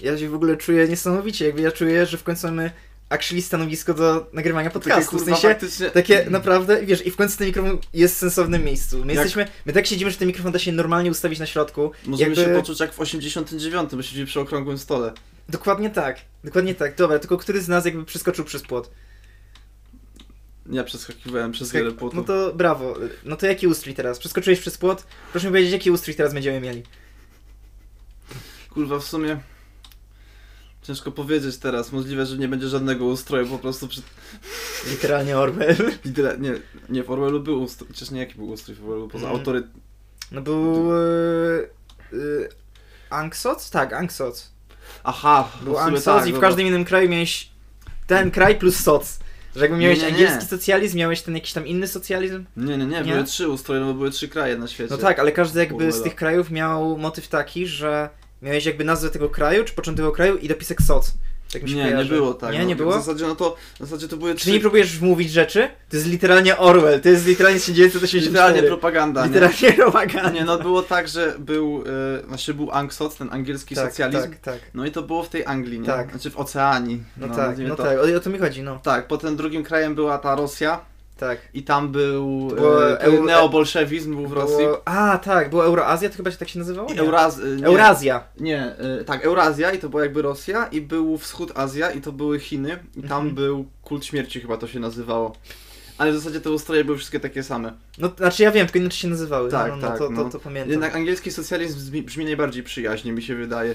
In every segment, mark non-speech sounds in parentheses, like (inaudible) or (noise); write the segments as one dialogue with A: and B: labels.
A: Ja się w ogóle czuję niesamowicie, jakby ja czuję, że w końcu mamy actually stanowisko do nagrywania podcastu, w sensie tak
B: faktycznie...
A: takie naprawdę, wiesz, i w końcu ten mikrofon jest w sensownym miejscu. My
B: Jak-
A: jesteśmy, my tak siedzimy, że ten mikrofon da się normalnie ustawić na środku.
B: Możemy
A: jakby-
B: się poczuć jak w 89, bo siedzimy przy okrągłym stole.
A: Dokładnie tak, dokładnie tak. Dobra, tylko który z nas jakby przeskoczył przez płot?
B: Ja przeskakiwałem przez
A: Jak-
B: wiele płotów.
A: No to brawo. No to jaki ustrój teraz? Przeskoczyłeś przez płot? Proszę mi powiedzieć, jaki ustrój teraz będziemy mieli?
B: Kurwa, w sumie... Ciężko powiedzieć teraz. Możliwe, że nie będzie żadnego ustroju, po prostu przy...
A: Literalnie Orwell. (laughs)
B: Lidera... Nie, nie, w Orwellu był ustrój. Chociaż nie, jaki był ustrój w Orwellu, poza
A: Mm.
B: autoryt...
A: No był... Yy, yy, Angsoc? Tak, Angsoc.
B: Aha,
A: Był
B: w sumie
A: Angsoc
B: tak,
A: i w
B: dobra.
A: każdym innym kraju miałeś ten kraj plus soc. Że jakby
B: Nie,
A: miałeś
B: nie, nie.
A: angielski socjalizm, miałeś ten jakiś tam inny socjalizm.
B: Nie, nie, nie,
A: Nie?
B: były trzy ustroje, no bo były trzy kraje na świecie.
A: No tak, ale każdy jakby z
B: Orwella.
A: tych krajów miał motyw taki, że miałeś jakby nazwę tego kraju, czy początek tego kraju i dopisek soc. Tak mi się
B: Nie,
A: kojarzy.
B: nie było tak.
A: Nie,
B: no,
A: nie było?
B: W zasadzie, no to, w zasadzie to były
A: Czy nie
B: trzy...
A: próbujesz mówić rzeczy? To jest literalnie Orwell, to jest literalnie 1984.
B: Literalnie propaganda, nie?
A: Literalnie propaganda.
B: (laughs) Nie, no było tak, że był, e, znaczy był Anksot, ten angielski socjalizm.
A: Tak, tak.
B: No i to było w tej Anglii, nie?
A: Tak.
B: Znaczy w Oceanii.
A: No, tak,
B: nazwijmy
A: no
B: to.
A: tak, o, o to mi chodzi, no.
B: Tak, potem drugim krajem była ta Rosja
A: Tak.
B: i tam był
A: To było
B: e, był
A: eu-
B: neobolszewizm był w Rosji.
A: Było- a, tak, była Euroazja, to chyba się tak się nazywało?
B: I
A: Nie.
B: Euraz... e, Nie,
A: Eurazja.
B: nie e, tak, Eurazja i to była jakby Rosja i był Wschód Azja i to były Chiny i tam
A: Mhm.
B: był kult śmierci chyba to się nazywało. Ale w zasadzie te ustroje były wszystkie takie same.
A: No, znaczy ja wiem, tylko inaczej się nazywały.
B: Tak,
A: no, no,
B: tak,
A: to,
B: no.
A: to, to pamiętam.
B: Jednak angielski socjalizm brzmi, brzmi najbardziej przyjaźnie, mi się wydaje.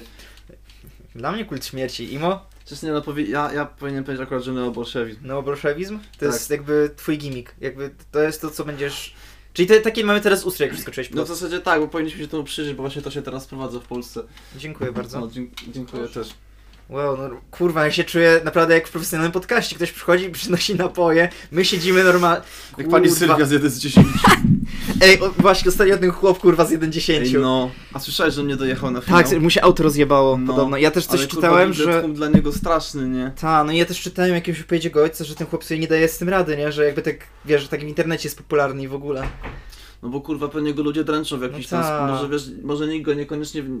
A: Dla mnie kult śmierci, imo,
B: Chociaż nie, no powie... ja, ja powinienem powiedzieć akurat, że neobolszewizm.
A: neobolszewizm, to
B: Tak.
A: jest jakby twój gimmick. Jakby to jest to, co będziesz... Czyli te, takie mamy teraz ustrój, jak przeskoczyłeś
B: No
A: no
B: w zasadzie tak, bo powinniśmy się temu przyjrzeć, bo właśnie to się teraz wprowadza w Polsce.
A: Dziękuję bardzo.
B: No, dziękuję, dziękuję też.
A: Wow, no kurwa, ja się czuję naprawdę jak w profesjonalnym podcaście. Ktoś przychodzi i przynosi napoje, my siedzimy normalnie...
B: Jak pani Sylwia z 1 z 10.
A: Ej, o, właśnie, ostatnio ten chłop, kurwa, z 1.10.
B: Ej, no. A słyszałeś, że mnie dojechał na finał?
A: Tak, mu się auto rozjebało
B: No,
A: podobno. Ja też coś
B: Ale, kurwa,
A: czytałem,
B: widzę
A: że...
B: tłum dla niego straszny, nie?
A: Ta, no i ja też czytałem jakiegoś wypowiedzi go ojca, że ten chłop sobie nie daje z tym rady, nie? Że jakby tak, wiesz, że tak w internecie jest popularny i w ogóle.
B: No bo kurwa pewnie go ludzie dręczą w
A: No
B: jakiś tam
A: tak.
B: sposób. Może wiesz, może nikt go niekoniecznie. w-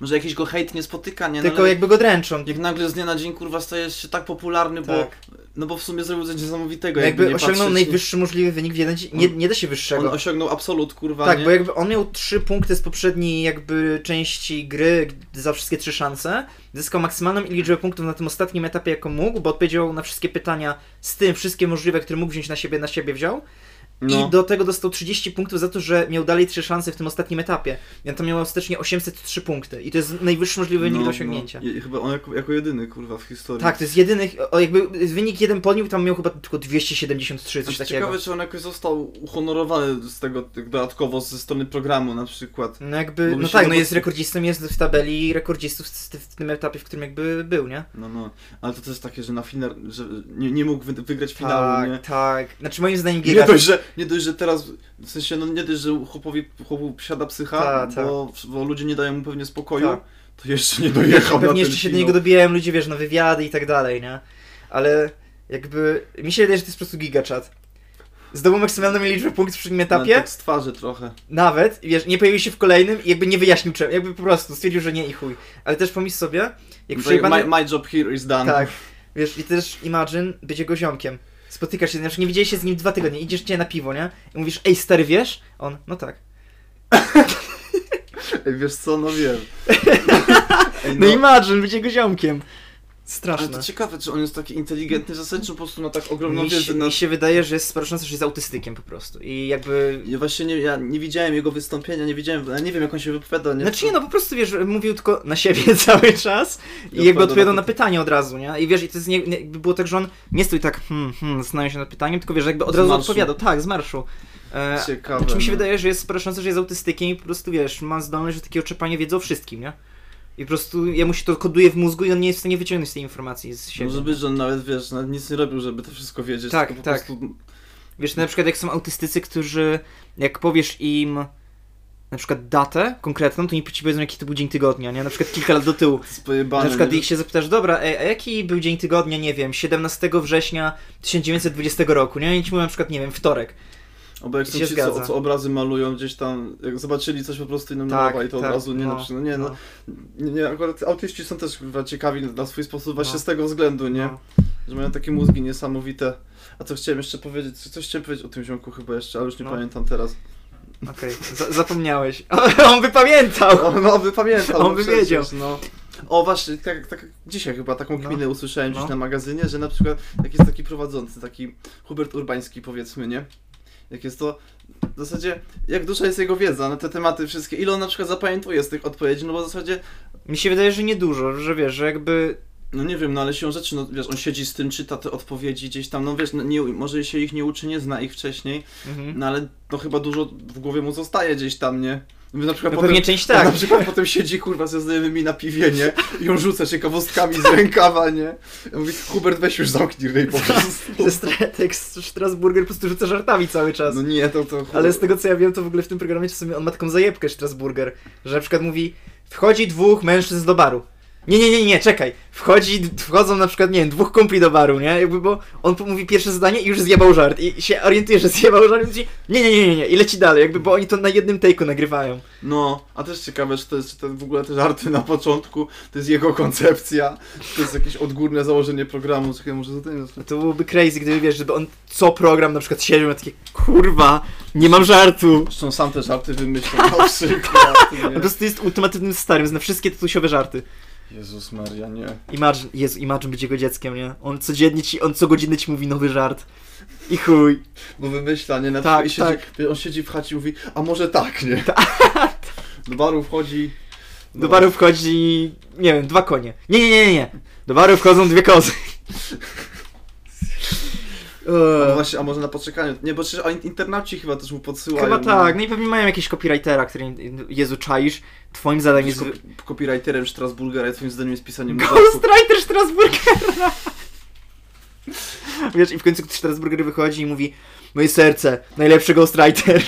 B: Może jakiś go hejt nie spotyka, nie? No,
A: Tylko
B: ale
A: jakby go dręczą.
B: jak nagle z dnia na dzień kurwa stajesz się tak popularny, bo.
A: Tak.
B: No bo w sumie zrobił coś niesamowitego.
A: Jakby,
B: Jakby, nie
A: osiągnął
B: patrzeć,
A: najwyższy możliwy wynik w jeden dzień. Nie, nie da się
B: nie? On
A: wyższego.
B: osiągnął absolut, kurwa.
A: Tak,
B: nie?
A: bo jakby on miał trzy punkty z poprzedniej jakby części gry g- za wszystkie trzy szanse, zyskał maksymalną liczbę punktów na tym ostatnim etapie jaką mógł, bo odpowiedział na wszystkie pytania z tym, wszystkie możliwe, które mógł wziąć na siebie, na siebie wziął.
B: no.
A: I do tego dostał 30 punktów za to, że miał dalej 3 szanse w tym ostatnim etapie. Ja to miał ostatecznie 803 punkty. I to jest najwyższy możliwy wynik do osiągnięcia.
B: No. I, chyba on jako, jako jedyny, kurwa, w historii.
A: Tak, to jest jedyny, o, jakby wynik jeden podniósł, tam miał chyba tylko 273, coś
B: Znaczy,
A: takiego.
B: ciekawe, czy on jakoś został uhonorowany z tego tak dodatkowo ze strony programu na przykład.
A: No jakby,
B: Bo
A: no
B: myślę,
A: tak,
B: no
A: no
B: bo-
A: jest rekordzistą, jest w tabeli rekordzistów w, w tym etapie, w którym jakby był, nie?
B: No, no. Ale to też takie, że na final, że nie, nie mógł wy- wygrać finału, nie?
A: Tak, tak. Znaczy moim zdaniem
B: Nie
A: Giga...
B: dość, że, nie dość, że teraz, w sensie, no nie dość, że chłopowi, chłopu siada psycha,
A: Ta, ta.
B: Bo, bo ludzie nie dają mu pewnie spokoju,
A: Ta.
B: to jeszcze nie dojechał na
A: Pewnie
B: ten
A: jeszcze się do
B: finał.
A: niego dobijają ludzie, wiesz, na wywiady i tak dalej, nie? Ale jakby, mi się wydaje, że to jest po prostu gigachat. Zdobył maksymalną liczbę punktów w przednim
B: Nawet
A: etapie,
B: Tak z twarzy trochę.
A: Nawet, wiesz, nie pojawił się w kolejnym i jakby nie wyjaśnił czemu, jakby po prostu stwierdził, że nie i chuj. Ale też pomyśl sobie, jak
B: my,
A: przejebany...
B: my job here is done.
A: Tak, wiesz, i też imagine być jego ziomkiem. Spotykasz się, znaczy nie widzieliście się z nim dwa tygodnie, idziesz cię na piwo, nie? I mówisz, ej stary, wiesz? On, no tak.
B: Ej, wiesz co, no
A: (laughs)
B: wiem. Ej,
A: No, imagine być jego ziomkiem.
B: Ale
A: Straszne.
B: to ciekawe, czy on jest taki inteligentny zasadniczo, po prostu ma tak ogromną
A: Mi
B: wiedzę
A: się,
B: na
A: mi się wydaje, że jest straszący, że jest autystykiem po prostu. I jakby...
B: Ja właśnie nie, ja nie widziałem jego wystąpienia, nie widziałem, ja nie wiem jak on się wypowiada. Nie,
A: Znaczy nie, no po prostu wiesz, mówił tylko na siebie (laughs) cały czas i
B: I
A: jakby
B: odpowiadał
A: odpowiadał
B: na
A: na pytanie od razu, nie? I wiesz, i to jest nie, nie, jakby było tak, że on nie stój tak, hmm, hmm, zastanawiał się nad pytaniem, tylko wiesz, jakby od
B: Z
A: razu
B: marszu.
A: odpowiadał, tak, z marszu. E,
B: Ciekawe.
A: znaczy mi się
B: no.
A: wydaje, że jest proszący, że jest autystykiem i po prostu wiesz, ma zdolność do takiego czerpania wiedzy o wszystkim, nie? I po prostu jemu się to koduje w mózgu i on nie jest w stanie wyciągnąć tej informacji z siebie.
B: Może być, że on nawet wiesz, nawet nic nie robił, żeby to wszystko wiedzieć.
A: Tak,
B: tylko po
A: tak.
B: Prostu...
A: Wiesz, na przykład jak są autystycy, którzy jak powiesz im na przykład datę konkretną, to nie ci powiedzą jaki to był dzień tygodnia, nie? Na przykład kilka lat do tyłu.
B: To jest pojebane.
A: Na przykład
B: nie?
A: ich się zapytasz, dobra, ej, a jaki był dzień tygodnia, nie wiem, 17 września 1920 roku, nie? I ci mówią na przykład, nie wiem, wtorek.
B: Albo jak
A: I
B: są
A: się
B: ci, co,
A: zgadza.
B: co obrazy malują gdzieś tam, jak zobaczyli coś po prostu No, i
A: Tak,
B: namalowali to od razu, nie no, no nie no. Nie, nie, akurat autyści są też kurwa, ciekawi na swój sposób właśnie
A: No.
B: z tego względu, nie?
A: No.
B: Że mają takie mózgi niesamowite. A co chciałem jeszcze powiedzieć? co- Coś chciałem powiedzieć o tym ziomku chyba jeszcze, ale już nie
A: No.
B: pamiętam teraz.
A: Okej, za- zapomniałeś. (laughs) On by
B: (laughs)
A: pamiętał!
B: Tak, On, on by pamiętał.
A: On
B: no
A: by
B: przecież,
A: wiedział.
B: No. O właśnie, tak, tak dzisiaj chyba taką
A: No.
B: kminę usłyszałem gdzieś
A: No.
B: na magazynie, że na przykład jak jest taki prowadzący, taki Hubert Urbański powiedzmy, nie? Jak jest to w zasadzie, jak duża jest jego wiedza na te tematy wszystkie, ile on na przykład zapamiętuje z tych odpowiedzi, no bo w zasadzie
A: Mi się wydaje, że niedużo, że wiesz, że jakby.
B: No nie wiem, no ale siłą rzeczy, no wiesz, on siedzi z tym, czyta te odpowiedzi gdzieś tam, no wiesz, no, nie, może się ich nie uczy, nie zna ich wcześniej,
A: Mhm.
B: no ale no chyba dużo w głowie mu zostaje gdzieś tam, nie? No, na przykład
A: No
B: potem,
A: pewnie część
B: tak.
A: tak.
B: na przykład potem siedzi kurwa ze znajomymi na piwie, nie? I ją rzuca ciekawostkami z rękawa, nie? Ja mówię, Hubert weź już zamknij rej po prostu.
A: Ze (laughs) Stratek z tak, Strasburger po prostu rzuca żartami cały czas.
B: No nie, to to...
A: Ale z tego co ja wiem, to w ogóle w tym programie czasami on ma taką zajebkę Strasburger, że na przykład mówi wchodzi dwóch mężczyzn do baru. Nie, nie, nie, nie, czekaj. Wchodzi, wchodzą na przykład, nie wiem, dwóch kumpli do baru, nie? Jakby, bo on mówi pierwsze zdanie i już zjebał żart. I się orientuje, że zjebał żart i mówi, nie, nie, nie, nie, nie, i leci dalej, jakby, bo oni to na jednym take'u nagrywają.
B: No, a też ciekawe, czy to jest, czy ten, w ogóle te żarty na początku, to jest jego koncepcja, czy to jest jakieś odgórne założenie programu, czekaj, może za tym...
A: No to byłoby crazy, gdyby, wiesz, żeby on co program na przykład siedział i miał takie, kurwa, nie mam żartu.
B: Zresztą sam te
A: (laughs)
B: żarty wymyślał na przykład.
A: On po
B: nie?
A: prostu jest ultimatywnym starym, zna wszystkie tatusiowe żarty.
B: Jezus Maria, nie.
A: Imagine, Jezu, Imagine być jego dzieckiem, nie? On codziennie ci, on co godzinę ci mówi nowy żart. I chuj.
B: Bo wymyśla, nie? Na
A: Tak,
B: tak, siedzi, On siedzi w chacie i mówi, a może tak, nie? Do baru wchodzi...
A: Do baru wchodzi, nie wiem, dwa konie. Nie, nie, nie, nie, nie. Do baru wchodzą dwie kozy.
B: No
A: Eee,
B: właśnie, a może na poczekaniu. Nie, bo przecież a in- internauci chyba też mu podsyłają.
A: Chyba tak,
B: Nie?
A: no i pewnie mają jakiegoś copywritera, który, Jezu, czaisz, twoim zadaniem jest...
B: Jest kopi- copywriterem Strasburgera i twoim zdaniem jest pisanie mu żartów.
A: Ghostwriter Strasburgera! Wiesz, i w końcu Strasburger wychodzi i mówi Moje serce, najlepszy Ghostwriter.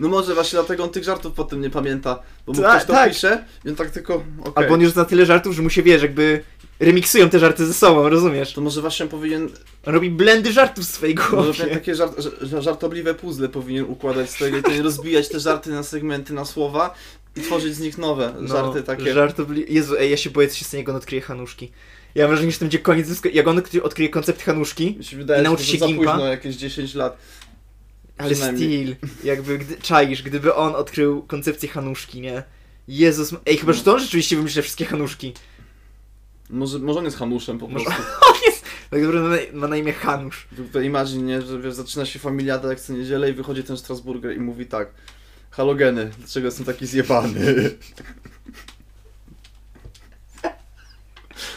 B: No może właśnie dlatego on tych żartów potem nie pamięta. Bo mu
A: Tak,
B: ktoś to
A: tak.
B: pisze i on tak tylko... okej.
A: Albo on już zna tyle żartów, że mu się, wiesz, jakby remiksują te żarty ze sobą, rozumiesz?
B: To może właśnie powinien...
A: On robi blendy żartów w swojej
B: Może powinien
A: głowie.
B: No, takie żart, ż- żartobliwe puzzle powinien układać z tego i powinien rozbijać te żarty na segmenty, na słowa i tworzyć z nich nowe
A: No,
B: żarty takie.
A: Żartobli... Jezu, ej, ja się boję, co się stanie, jak on odkryje Hanuszki. Ja mam wrażenie, że to będzie koniec, dysku- jak on odkry- odkryje koncept Hanuszki,
B: Mi się
A: I
B: wydaje, że to
A: nauczy się
B: za
A: gimpa?
B: późno, jakieś 10 lat.
A: ale
B: Przynajmniej.
A: still, jakby, gdy, czaisz, gdyby on odkrył koncepcję Hanuszki, nie? Jezus, ej, chyba, że to on rzeczywiście wymyśla wszystkie Hanuszki.
B: Może, może on jest hamuszem po
A: Może-
B: prostu.
A: Tak naprawdę ma- ma na imię Hanusz.
B: Może... Imagine, nie, że wiesz, zaczyna się familiada jak co niedzielę i wychodzi ten Strasburger i mówi tak. Halogeny, dlaczego jestem
A: (laughs)
B: taki zjebany?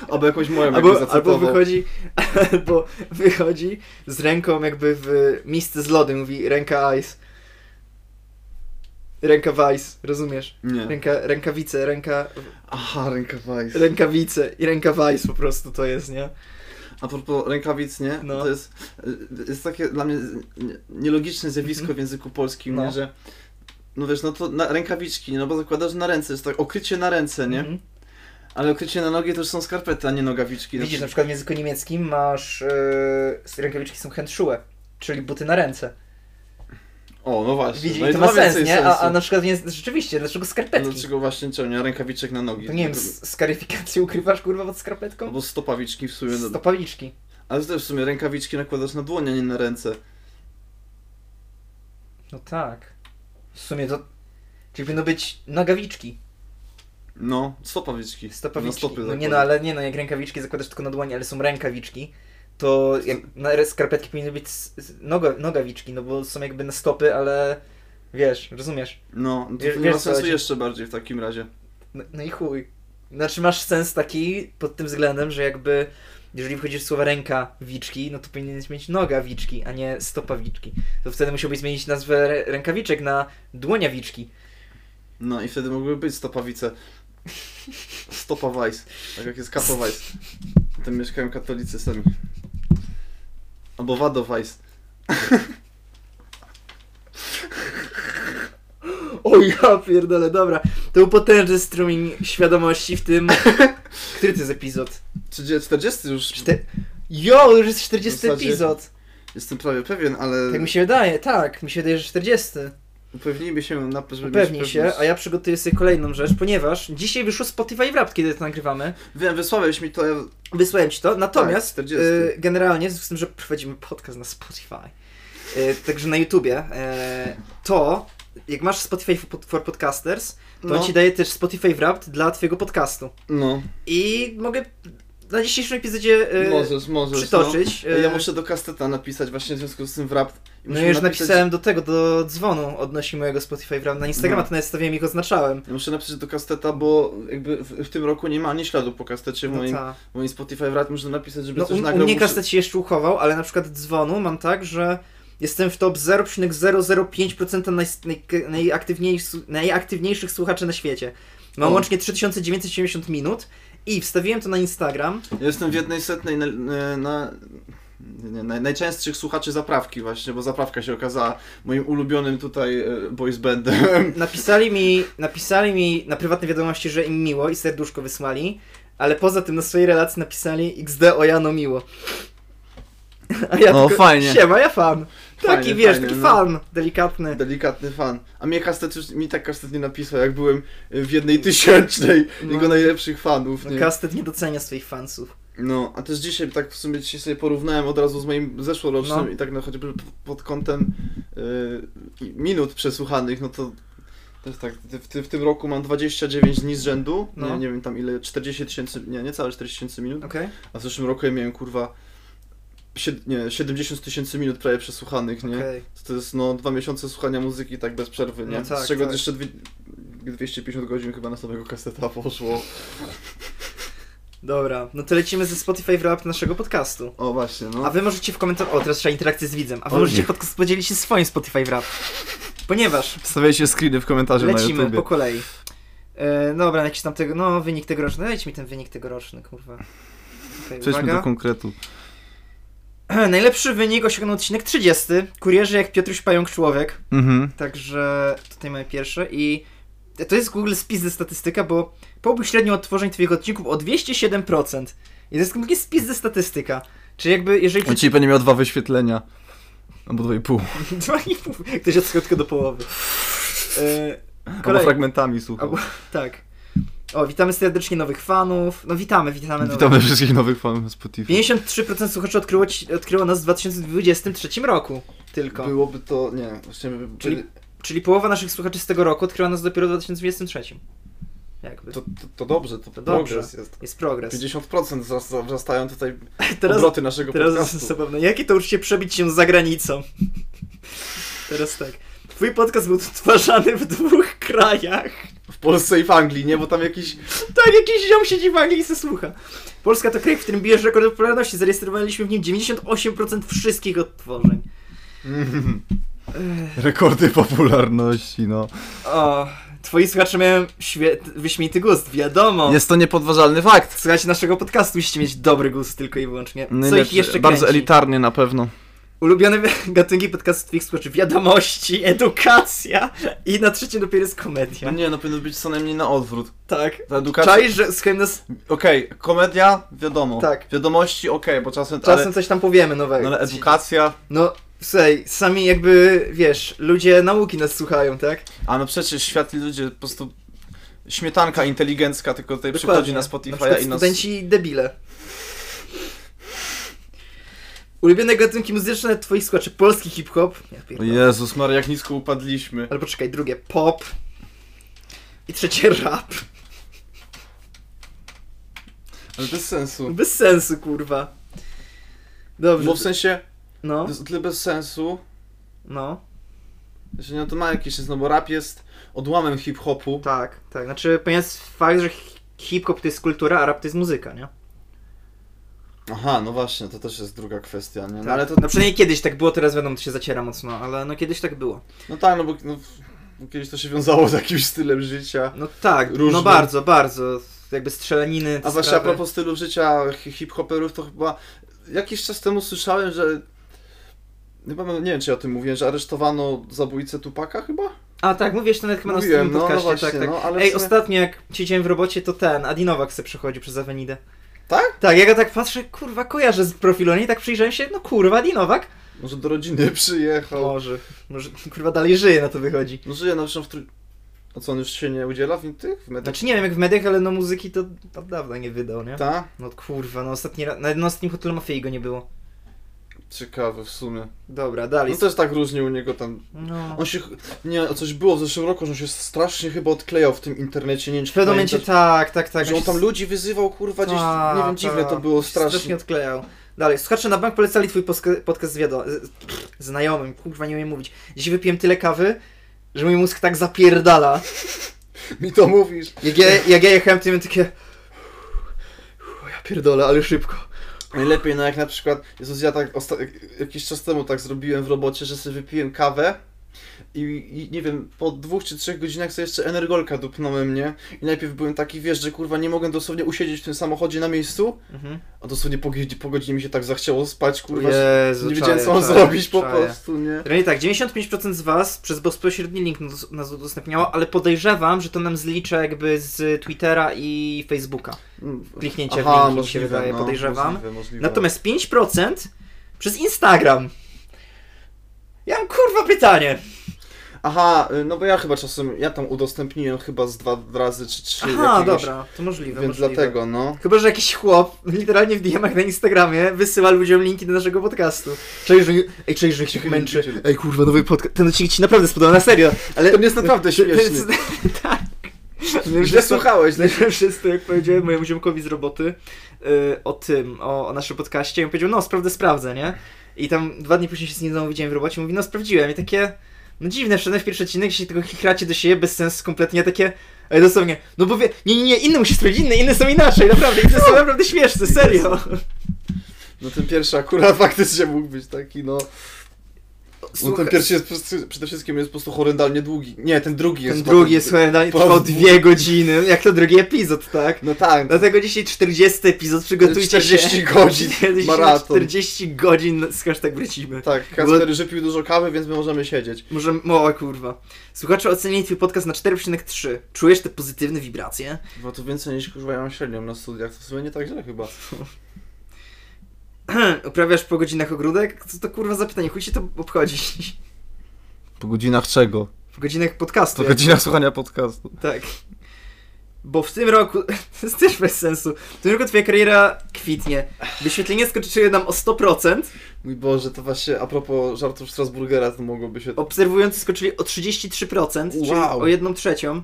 B: Albo jakąś moją jakby
A: Albo, albo
B: zacytował.
A: wychodzi, (laughs) albo wychodzi z ręką jakby w misce z lodem, mówi ręka ice. Ręka vice, rozumiesz?
B: Nie.
A: Ręka, rękawice, ręka,
B: Aha, rękawice.
A: rękawice i ręka vice po prostu to jest, nie?
B: A propos rękawic, nie?
A: No.
B: To jest, y, jest takie dla mnie z- nie- nielogiczne zjawisko
A: Mhm.
B: w języku polskim,
A: No.
B: nie? Że, no wiesz, no to na, rękawiczki, no bo zakładasz na ręce, jest tak okrycie na ręce, nie?
A: Mhm.
B: Ale okrycie na nogi to już są skarpety, a nie nogawiczki.
A: Widzisz, na
B: Znaczy,
A: przykład w języku niemieckim masz, yy, rękawiczki są handschuhe, czyli buty na ręce.
B: O, no właśnie.
A: Widzisz,
B: no
A: i to ma
B: więcej
A: sens, nie? A,
B: sensu.
A: a na przykład jest, rzeczywiście, dlaczego
B: No
A: skarpetki?
B: Dlaczego właśnie czemu nie? Rękawiczek na nogi.
A: To nie wiem,
B: Tylko-
A: z, z karyfikacją ukrywasz kurwa pod skarpetką?
B: Albo stopawiczki w sumie. No,
A: Stopawiczki.
B: ale też w sumie rękawiczki nakładasz na dłonie, a nie na ręce.
A: No tak. W sumie to. Czyli powinno być nogawiczki.
B: No, stopawiczki.
A: Stopawiczki.
B: Na stopy
A: no nie
B: zakładasz.
A: no, ale nie no, jak rękawiczki zakładasz tylko na dłonie, ale są rękawiczki, to jak na skarpetki powinny być s- s- noga, nogawiczki, no bo są jakby na stopy, ale wiesz, rozumiesz.
B: No, no to,
A: Wiesz-
B: to nie
A: wiesz,
B: ma
A: co
B: sensu
A: chodzi.
B: jeszcze bardziej w takim razie.
A: No, no i chuj. Znaczy masz sens taki pod tym względem, że jakby jeżeli wchodzisz w słowa rękawiczki, no to powinieneś mieć nogawiczki, a nie stopawiczki. To wtedy musiałbyś zmienić nazwę rę- rękawiczek na dłoniawiczki.
B: No i wtedy mogłyby być stopawice. Stopa Weiss. Tak jak jest Kato Weiss. Tam mieszkają katolicy sami. Albo Wado Weiss.
A: O ja pierdolę, dobra. To był potężny strumień świadomości w
B: (laughs)
A: tym... Który to jest epizod?
B: Czy 40 już?
A: Czte... Jo, już jest 40
B: W zasadzie-
A: epizod.
B: Jestem prawie pewien, ale
A: Tak mi się wydaje, tak. Mi się wydaje, że 40.
B: upewnijmy się na żeby mieć
A: Upewnij się,
B: pewność.
A: a ja przygotuję sobie kolejną rzecz, ponieważ dzisiaj wyszło Spotify Wrapped, kiedy to nagrywamy.
B: Wiem, wysłałeś mi to, ja
A: Wysłałem ci to, natomiast
B: Tak, 40.
A: y, generalnie, w związku z tym, że prowadzimy podcast na Spotify, y, także na YouTubie, y, to jak masz Spotify for, for Podcasters, to
B: No.
A: on ci daje też Spotify Wrapped dla twojego podcastu.
B: No,
A: I mogę na dzisiejszym epizodzie y,
B: możesz, możesz.
A: przytoczyć.
B: No.
A: y,
B: Ja muszę do kasteta napisać właśnie w związku z tym wrap. I
A: No
B: musimy
A: ja już
B: napisać-
A: napisałem do tego, do dzwonu odnośnie mojego Spotify Wrapped na Instagrama,
B: No.
A: to nawet stawiłem i ich oznaczałem.
B: Ja muszę napisać do kasteta, bo jakby w, w tym roku nie ma ani śladu po kastecie w
A: No
B: moim,
A: ta.
B: w moim Spotify wrap. Muszę napisać, żeby
A: No,
B: coś
A: u,
B: nagrał.
A: u mnie
B: muszę-
A: kastet się jeszcze uchował, ale na przykład dzwonu mam tak, że jestem w top 0,005% naj, naj, najaktywniejszych, najaktywniejszych słuchaczy na świecie. Mam
B: O.
A: łącznie 3970 minut i wstawiłem to na Instagram.
B: Ja jestem w jednej setnej na, na, nie, naj- najczęstszych słuchaczy zaprawki właśnie, bo zaprawka się okazała moim ulubionym tutaj e, boys bandem. (laughs)
A: Napisali mi, napisali mi na prywatne wiadomości, że im miło i serduszko wysłali, ale poza tym na swojej relacji napisali XD o Jano miło. A ja
B: No,
A: tylko,
B: fajnie.
A: siema, ja fan. Taki
B: Fajnie,
A: wiesz,
B: fajnie,
A: taki
B: no.
A: fan, delikatny.
B: Delikatny fan. A mnie kastet już, mi tak kastet nie napisał, jak byłem w jednej tysięcznej
A: No.
B: jego najlepszych fanów.
A: No,
B: Nie?
A: kastet nie docenia swoich fansów.
B: No, a też dzisiaj tak w sumie dzisiaj sobie porównałem od razu z moim zeszłorocznym
A: No.
B: i tak no choćby p- pod kątem y, minut przesłuchanych, no to też tak, ty- w, ty, w tym roku mam 29 dni z rzędu,
A: No.
B: nie, nie wiem tam ile, 40 tysięcy, nie, niecałe 40 tysięcy minut,
A: Okej.
B: a w zeszłym roku ja miałem kurwa sied, nie, 70 tysięcy minut prawie przesłuchanych, nie?
A: Okej.
B: To, to jest no dwa miesiące słuchania muzyki tak bez przerwy, nie?
A: No tak,
B: z czego
A: tak.
B: jeszcze dwie, 250 godzin chyba na samego kaseta poszło.
A: Dobra, no to lecimy ze Spotify Wrap naszego podcastu.
B: O właśnie, no.
A: A wy możecie w komentarzach. O, teraz trzeba interakcję z widzem. A wy
B: O,
A: możecie
B: nie.
A: podcast podzielić się swoim Spotify Wrap. Ponieważ
B: Wstawiajcie screeny w komentarzu
A: lecimy po kolei. E, dobra, jakiś tam tego. No, wynik tegoroczny. Dajcie mi ten wynik tegoroczny, kurwa. Okay, uwaga.
B: konkretu.
A: (clears throat) Najlepszy wynik osiągnął odcinek 30. Kurierzy jak Piotruś Pająk Człowiek.
B: Mhm.
A: Także tutaj mamy pierwsze i to jest Google spis ze statystyka, bo połóg średnio odtworzeń twoich odcinków o 207%. I to jest taki spis ze statystyka. Czy jakby, jeżeli...
B: On
A: Przy... (laughs)
B: dzisiaj będzie miał dwa wyświetlenia. Albo dwa i pół.
A: Dwa No i pół. Ktoś odskoczył tylko do połowy. E,
B: Albo
A: Kolej.
B: fragmentami słuchaj.
A: Albo- tak. O, witamy serdecznie nowych fanów. No witamy, witamy. nowych.
B: Witamy wszystkich nowych fanów na Spotify.
A: 53% słuchaczy odkryło, ci- odkryło nas w 2023 roku tylko.
B: Byłoby to, nie, właśnie by, by,
A: Czyli- Czyli połowa naszych słuchaczy z tego roku odkryła nas dopiero w 2023. Jakby.
B: to, to, to dobrze, to,
A: To dobrze.
B: dobrze. jest.
A: Jest progres.
B: 50% wzrasta- wzrastają tutaj
A: (laughs) Teraz
B: obroty naszego
A: Teraz
B: podcastu.
A: zabawne. Jakie to uczucie przebić się za granicą? (laughs) Teraz tak. Twój podcast był odtwarzany w dwóch (laughs) krajach.
B: W Polsce i w Anglii, nie? Bo tam jakiś...
A: Tak, jakiś ziom siedzi w Anglii i se słucha. Polska to kraj, w którym bijesz rekord popularności. Zarejestrowaliśmy w nim 98% wszystkich odtworzeń. Ech.
B: Rekordy popularności, no.
A: O, twoi słuchacze mają świe- wyśmienity gust, wiadomo.
B: Jest to niepodważalny fakt.
A: Słuchajcie naszego podcastu, musicie mieć dobry gust tylko i wyłącznie. Co ich
B: Najlepszy-
A: jeszcze
B: No Bardzo
A: kręci?
B: elitarny na pewno.
A: Ulubione (laughs) wi- gatunki podcastów twoich słuchaczy wiadomości, (laughs) edukacja i na trzecie dopiero jest komedia.
B: Nie, no powinno być co najmniej na odwrót.
A: Tak.
B: Ta edukacja
A: Czaj, że słuchaj nas,
B: Okej, komedia, wiadomo.
A: Tak.
B: Wiadomości, okej, bo czasem,
A: czasem tak.
B: ale,
A: coś tam powiemy nowego.
B: no, ale edukacja.
A: No, słuchaj, sami jakby, wiesz, ludzie nauki nas słuchają, tak?
B: A no przecież świat i ludzie po prostu. Śmietanka inteligencka, tylko tutaj
A: Dokładnie.
B: przychodzi na
A: Na
B: Spotify
A: przykład
B: i nas.
A: studenci debile. Ulubione gatunki muzyczne twoich słuchaczy, polski hip-hop. Ja
B: O
A: pierdolę.
B: Jezus, Maria, jak nisko upadliśmy.
A: Albo czekaj, drugie pop. I trzecie rap.
B: Ale bez sensu.
A: Bez sensu, kurwa. Dobrze.
B: Bo w sensie,
A: No,
B: to jest o tyle bez sensu,
A: no.
B: że no to ma jakiś sens, no bo rap jest odłamem hip-hopu.
A: Tak, tak. Znaczy, ponieważ fakt, że hi- hip-hop to jest kultura, a rap to jest muzyka, nie?
B: Aha, no właśnie, to też jest druga kwestia, nie? No,
A: Tak.
B: ale to,
A: No przynajmniej kiedyś tak było, teraz wiadomo, to się zaciera mocno, ale no kiedyś tak było.
B: no tak, no bo no, kiedyś to się wiązało z jakimś stylem życia.
A: No tak,
B: Różne.
A: no bardzo, bardzo. Jakby strzelaniny, te
B: A właśnie a
A: sprawy.
B: propos stylu życia hi- hip-hoperów, to chyba jakiś czas temu słyszałem, że chyba, no, nie wiem czy ja o tym mówiłem, że aresztowano zabójcę Tupaka chyba?
A: A tak, mówisz to nawet chyba
B: Mówiłem,
A: na
B: no,
A: tym
B: no
A: podcaście, tak,
B: właśnie,
A: tak.
B: no, ale
A: Ej,
B: w sumie-
A: ostatnio jak siedziałem w robocie, to ten, Adinowak se przechodził przez Awenidę.
B: Tak?
A: Tak, ja go tak patrzę, kurwa, kojarzę z profilu, nie? I tak przyjrzałem się, no kurwa, Adinowak.
B: Może do rodziny (laughs) przyjechał.
A: Może, może kurwa dalej żyje, na to wychodzi.
B: No żyje na przykład w trój... A co, on już się nie udziela w tych? W mediach?
A: Znaczy nie wiem jak w mediach, ale no muzyki to od dawna nie wydał, nie?
B: Ta?
A: No kurwa, no ostatni raz, na, na ostatnim hotelu mafii go nie było.
B: Ciekawe w sumie.
A: Dobra,
B: No
A: dalej.
B: też tak różnie u niego tam.
A: No.
B: On się... ch- Nie, coś było w zeszłym roku, że on się strasznie chyba odklejał w tym internecie, nie wiem
A: W
B: czy
A: pewnym momencie
B: pamiętasz,
A: tak, tak, tak.
B: No Że on tam ludzi wyzywał, kurwa, gdzieś,
A: Tak,
B: nie wiem, dziwnie
A: tak.
B: to było,
A: Strasznie
B: strasznie.
A: odklejał. Dalej, słuchacze na bank polecali twój poska- podcast z wiado- z- znajomym, kurwa nie umiem mówić. Dziś wypiłem tyle kawy, że mój mózg tak zapierdala.
B: Mi to mówisz.
A: Jak ja, jak ja jechałem, to miałem takie... "Uff, Ja pierdolę, ale szybko.
B: Najlepiej, no jak na przykład, Jezus, ja tak osta- jakiś czas temu tak zrobiłem w robocie, że sobie wypiłem kawę i, i nie wiem, po dwóch czy trzech godzinach sobie jeszcze energolka dupnąłem, nie? I najpierw byłem taki, wiesz, że kurwa nie mogłem dosłownie usiedzieć w tym samochodzie na miejscu,
A: Mhm.
B: a dosłownie po, godzinie- po godzinie mi się tak zachciało spać, kurwa, że
A: Jezu,
B: nie wiedziałem
A: czaję,
B: co mam
A: czaję,
B: zrobić po
A: czaję.
B: prostu, nie?
A: Realnie tak, 95% z was przez bezpośredni link nas- nas udostępniało, ale podejrzewam, że to nam zlicza jakby z Twittera i Facebooka.
B: Mm.
A: Kliknięcie w
B: Aha,
A: linki mi się
B: możliwe,
A: wydaje,
B: no,
A: podejrzewam.
B: Możliwe, możliwe.
A: Natomiast 5% przez Instagram. Ja mam kurwa pytanie.
B: Aha, y, no bo ja chyba czasem, ja tam udostępniłem chyba z dwa razy czy trzy
A: Aha,
B: jakiegoś,
A: dobra, to możliwe.
B: więc
A: możliwe.
B: dlatego, no.
A: Chyba, że jakiś chłop literalnie w DM-ach na Instagramie wysyła ludziom linki do naszego podcastu. Cześć, że, ej, cześć, że się męczy. Ej, kurwa, nowy podcast. Ten odcinek ci naprawdę spodobał, na serio. Ale...
B: To jest naprawdę śmieszny.
A: (laughs) tak.
B: Źle słuchałeś,
A: Źle wszyscy, jak powiedziałem mojemu ziomkowi z roboty yy, o tym, o, o naszym podcaście, i on powiedział, no sprawdzę, sprawdzę, nie? I tam dwa dni później się z nim znowu widziałem w robocie, mówi, no sprawdziłem. I takie, no dziwne, wszedłem w pierwszy odcinek, się tego chichracie do siebie, bez sensu kompletnie, ja takie, ale dosłownie, no bo wie, nie, nie, nie, inne musi sprawdzić, inne, inne są inaczej, naprawdę, inne są naprawdę śmieszne, serio. (laughs)
B: No ten pierwszy akurat (laughs) faktycznie mógł być taki, no. No ten pierwszy jest przede- przede wszystkim jest po prostu horrendalnie długi. Nie, ten drugi jest.
A: Ten drugi
B: potem-
A: jest, słuchaj, dalej trwał
B: Powód.
A: dwie godziny, jak to drugi epizod, tak?
B: No tak.
A: Dlatego dzisiaj 40 epizod, przygotujcie
B: 40
A: się. (laughs)
B: godzin,
A: 40
B: maraton.
A: 40 godzin z hashtag wrócimy.
B: Tak, Kasper żypił dużo kawy, więc my możemy siedzieć.
A: Może mała kurwa. Słuchacze ocenili twój podcast na 4,3. Czujesz te pozytywne wibracje? (clears throat)
B: Bo to więcej niż kurwa ja mam średnią na studiach, to w sumie nie tak źle chyba.
A: Uprawiasz po godzinach ogródek? Co to kurwa zapytanie? Chuj się to obchodzi. (laughs)
B: Po godzinach czego?
A: W godzinach podcastu. jak-
B: słuchania podcastu.
A: Tak. Bo w tym roku, (laughs) to jest też bez sensu, w tym roku twoja kariera kwitnie. Wyświetlenie skoczyły nam o 100%,
B: Mój Boże, to właśnie a propos żartów Strasburgera, to mogłoby się...
A: obserwujący skoczyli o 33%, czyli
B: Wow.
A: o 1 trzecią,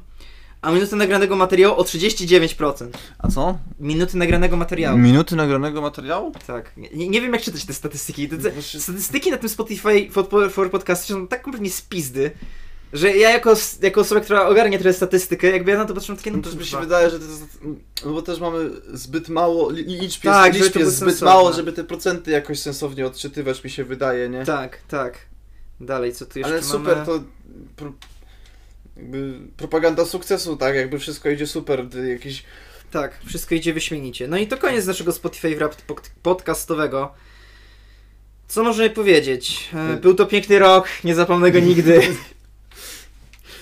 A: a minuty nagranego materiału o 39%.
B: A co?
A: Minuty nagranego materiału.
B: Minuty nagranego materiału?
A: Tak. Nie, nie wiem, jak czytać te statystyki. Te, te,
B: No Właśnie-
A: statystyki na tym Spotify for, for podcasty są tak kompletnie spizdy, że ja jako, s- jako osoba, która ogarnia trochę statystykę, jakby ja na to patrzę takie, no
B: No też mi się
A: kurwa.
B: wydaje, że to jest, no bo też mamy zbyt mało, li- liczb jest,
A: Tak, żeby
B: liczb
A: to było
B: jest zbyt
A: sensowne.
B: mało, żeby te procenty jakoś sensownie odczytywać, mi się wydaje, nie?
A: Tak, tak. Dalej, co tu jeszcze
B: Ale super,
A: mamy?
B: to pro, jakby propaganda sukcesu, tak? Jakby wszystko idzie super, gdy jakiś...
A: Tak, wszystko idzie wyśmienicie. No i to koniec naszego Spotify Wrap pod- podcastowego. Co możemy powiedzieć? E, Był to piękny rok, nie zapomnę go nigdy.
B: (laughs)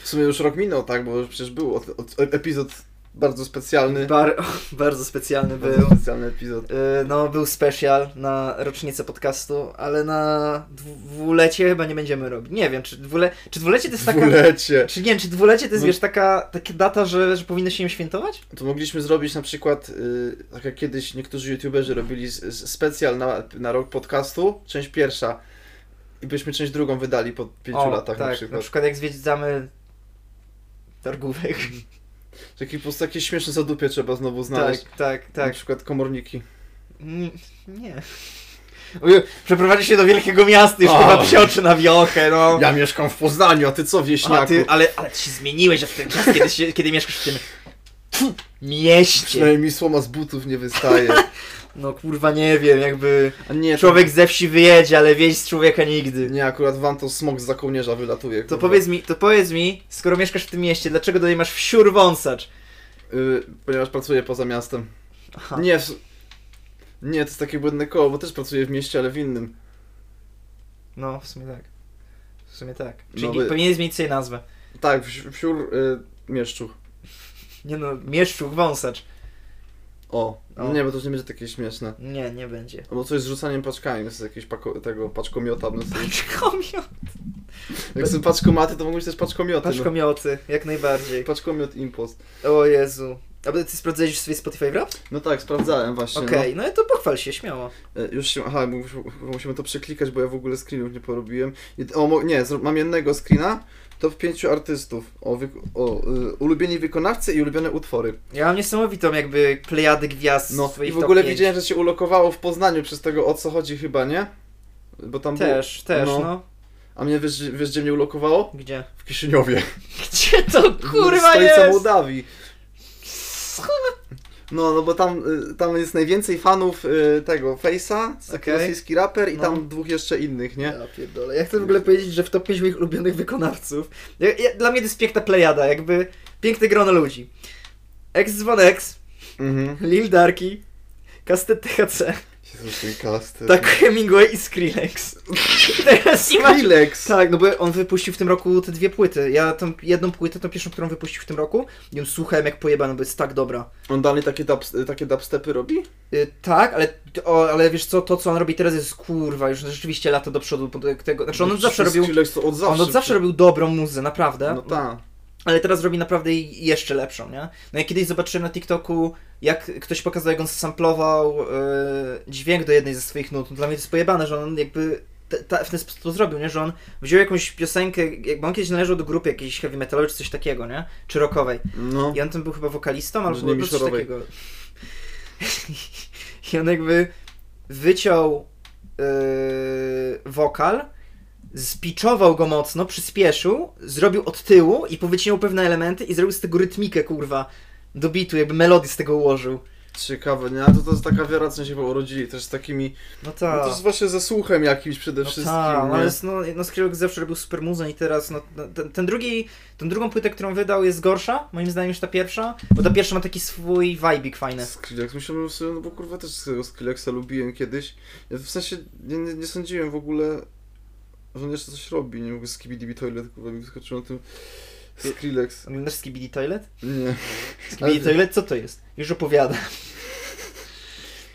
B: W sumie już rok minął, tak? Bo przecież był od, od, epizod bardzo specjalny.
A: Bar- bardzo specjalny
B: Bardzo
A: był.
B: specjalny epizod.
A: Y, No, był special na rocznicę podcastu, ale na dwulecie chyba nie będziemy robić. Nie wiem, czy, dwule... czy dwulecie to jest taka.
B: Dwulecie.
A: Czy nie wiem, czy dwulecie to jest
B: No.
A: wiesz taka, taka data, że, że powinno się ją świętować?
B: To mogliśmy zrobić na przykład, y, tak jak kiedyś niektórzy youtuberzy robili s- s- specjal na, na rok podcastu, część pierwsza. I byśmy część drugą wydali po pięciu latach
A: tak,
B: na przykład.
A: jak zwiedzamy targówek.
B: Mhm. Taki po prostu takie śmieszne zadupie trzeba znowu
A: Tak,
B: znaleźć. Mhm.
A: tak,
B: Na
A: tak.
B: przykład komorniki.
A: Mm, Nie. Uj, Przeprowadzi się do wielkiego miasta, już
B: O.
A: chyba psioczy na wiochę, no.
B: Ja mieszkam w Poznaniu, a ty co, wieśniaku?
A: A ty, ale, ale ty się zmieniłeś od ten czas, kiedy, się, kiedy mieszkasz w tym tfu, mieście.
B: Przynajmniej słoma z butów nie
A: (laughs)
B: wystaje.
A: No kurwa nie wiem, jakby
B: A nie,
A: człowiek ze wsi wyjedzie, ale wieś z człowieka nigdy.
B: nie, akurat wam to smok za kołnierza wylatuje.
A: To powiedz mi, to powiedz mi, skoro mieszkasz w tym mieście, dlaczego dalej masz wsiur wąsacz?
B: Y, ponieważ pracuję poza miastem.
A: Aha.
B: Nie, w- nie, to jest takie błędne koło, bo też pracuję w mieście, ale w innym.
A: No, w sumie tak. W sumie tak. Czyli
B: No
A: nie-
B: by-
A: powinien zmienić sobie nazwę.
B: Tak, w, wsiór y, mieszczu.
A: Nie no, mieszczuch wąsacz.
B: O, no
A: O.
B: nie, bo to już nie będzie takie śmieszne.
A: Nie, nie będzie.
B: Albo coś z rzucaniem paczkami, z jakiegoś pako- tego paczkomiota.
A: (laughs)
B: No, z-
A: Paczkomiot.
B: jak są paczkomaty, to mogą być też paczkomioty. Paczkom...
A: Paczkomioty, jak najbardziej.
B: No. Paczkomiot impost.
A: O Jezu. A ty sprawdzałeś sobie Spotify Wrapped?
B: No tak, sprawdzałem właśnie.
A: Okej, no to pochwal się, śmiało.
B: No. E, Już się, aha, bo mus- bo musimy to przeklikać, bo ja w ogóle screenów nie porobiłem. I, o, mo- nie, zro- mam jednego screena. Top pięciu artystów. O, wy, o y, ulubieni wykonawcy i ulubione utwory.
A: Ja mam niesamowitą jakby plejadę gwiazd
B: No
A: swoich
B: i w ogóle
A: top pięć.
B: widziałem, że się ulokowało w Poznaniu przez tego o co chodzi chyba, nie? Bo tam było-
A: Też, też,
B: no.
A: no.
B: A mnie wiesz, wiesz gdzie mnie ulokowało?
A: Gdzie?
B: W Kiszyniowie.
A: Gdzie to kurwa
B: Stolica
A: jest?
B: Mołdawii. No, no bo tam, y, tam jest najwięcej fanów y, tego Face'a, taki
A: Okej.
B: rosyjski raper i
A: No.
B: tam dwóch jeszcze innych, nie?
A: Ja pierdolę. Ja chcę w ogóle powiedzieć, że w top 5 moich ulubionych wykonawców. Ja, ja, dla mnie to jest piękna plejada, jakby piękne grono ludzi. Ex Zvonex,
B: Mhm.
A: Lil Darky, Kastet
B: (laughs)
A: THC,
B: Jezus, ten cast.
A: Tak Hemingway i
B: (laughs)
A: Skrillex. Teraz nie masz...
B: Skrillex.
A: Tak, no bo on wypuścił w tym roku te dwie płyty. Ja tą jedną płytę, tą pierwszą, którą wypuścił w tym roku, ją słuchałem jak pojebano, bo jest tak dobra.
B: On dalej takie, dubs- y, takie dubstepy robi?
A: Y, tak, ale, o, ale wiesz co, to co on robi teraz jest kurwa, już rzeczywiście lata do przodu. bo Tego, znaczy on
B: No
A: od zawsze
B: przecież
A: robił...
B: Skrillex to od zawsze.
A: On od zawsze robił dobrą muzę, naprawdę.
B: No tak.
A: Ale teraz robi naprawdę jej jeszcze lepszą, nie? No ja kiedyś zobaczyłem na TikToku, jak ktoś pokazał, jak on samplował e, dźwięk do jednej ze swoich nut. Dla mnie to jest pojebane, że on jakby te, ta, w ten sposób to zrobił, nie? Że on wziął jakąś piosenkę, jak, bo on kiedyś należał do grupy jakiejś heavy metalowej czy coś takiego, nie? Czy rockowej.
B: No.
A: I on tam był chyba wokalistą
B: Może
A: albo
B: nie
A: nie coś
B: Miszorowej.
A: takiego. (laughs) I on jakby wyciął yy, wokal, spiczował go mocno, przyspieszył, zrobił od tyłu i powycinał pewne elementy i zrobił z tego rytmikę, kurwa, do bitu, jakby melodię z tego ułożył.
B: Ciekawe, nie? A To, to jest taka wiara, co się chyba urodzili, też z takimi...
A: No
B: No
A: tak.
B: to jest właśnie ze słuchem jakimś przede
A: No
B: wszystkim,
A: tak, no
B: nie?
A: ale jest- no, no Skrillex zawsze robił super muzę i teraz no, no, ten, ten drugi, tą drugą płytę, którą wydał jest gorsza, moim zdaniem, niż ta pierwsza, bo ta pierwsza ma taki swój vibik fajny.
B: Skrillex, myślałem sobie, no bo kurwa też tego Skrillexa lubiłem kiedyś. Ja w sensie nie, nie, nie sądziłem w ogóle, że on jeszcze coś robi. Nie mogę skibidi toilet, kurwa mi wyskoczyło na tym Skrillex.
A: Oglądasz Skibidi Toilet?
B: Nie.
A: Skibidi Toilet, co to jest? Już opowiadam. (laughs)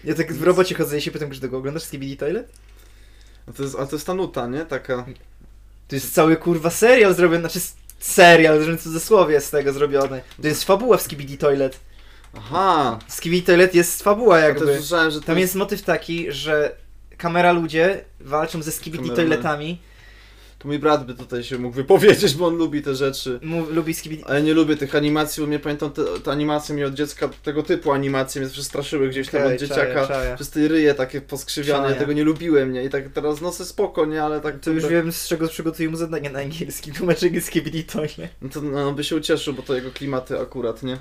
A: Ja tak w robocie chodzę i się pytam Grzyszego, oglądasz Skibidi Toilet?
B: A to jest, a to jest ta nuta, nie? Taka.
A: To jest cały kurwa serial zrobiony, znaczy s- serial, że cudzysłowie z tego zrobiony. To jest fabuła w Skibidi Toilet.
B: Aha!
A: W Skibidi Toilet jest fabuła
B: Jakby. Też
A: jakby.
B: słyszałem, że to
A: Tam jest motyw taki, że kamera ludzie walczą ze Skibidi
B: Kameraman.
A: Toiletami.
B: To mój brat by tutaj się mógł wypowiedzieć, bo on lubi te rzeczy.
A: Mu, lubi Skibidi...
B: Ale nie lubię tych animacji, bo mnie pamiętam, te, te animacje mnie od dziecka, tego typu animacje mnie przestraszyły gdzieś tam
A: Okej,
B: od dzieciaka.
A: czaję, czaję.
B: Przez te ryje takie poskrzywiane, ja
A: Czaję.
B: tego nie lubiłem, nie? I tak teraz nosy spoko, nie? Ale tak...
A: To już wiem, z czego przygotuję mu zadanie na angielski. Tłumaczenie Skibidi Toilet.
B: No to no, by się ucieszył, bo to jego klimaty akurat, nie?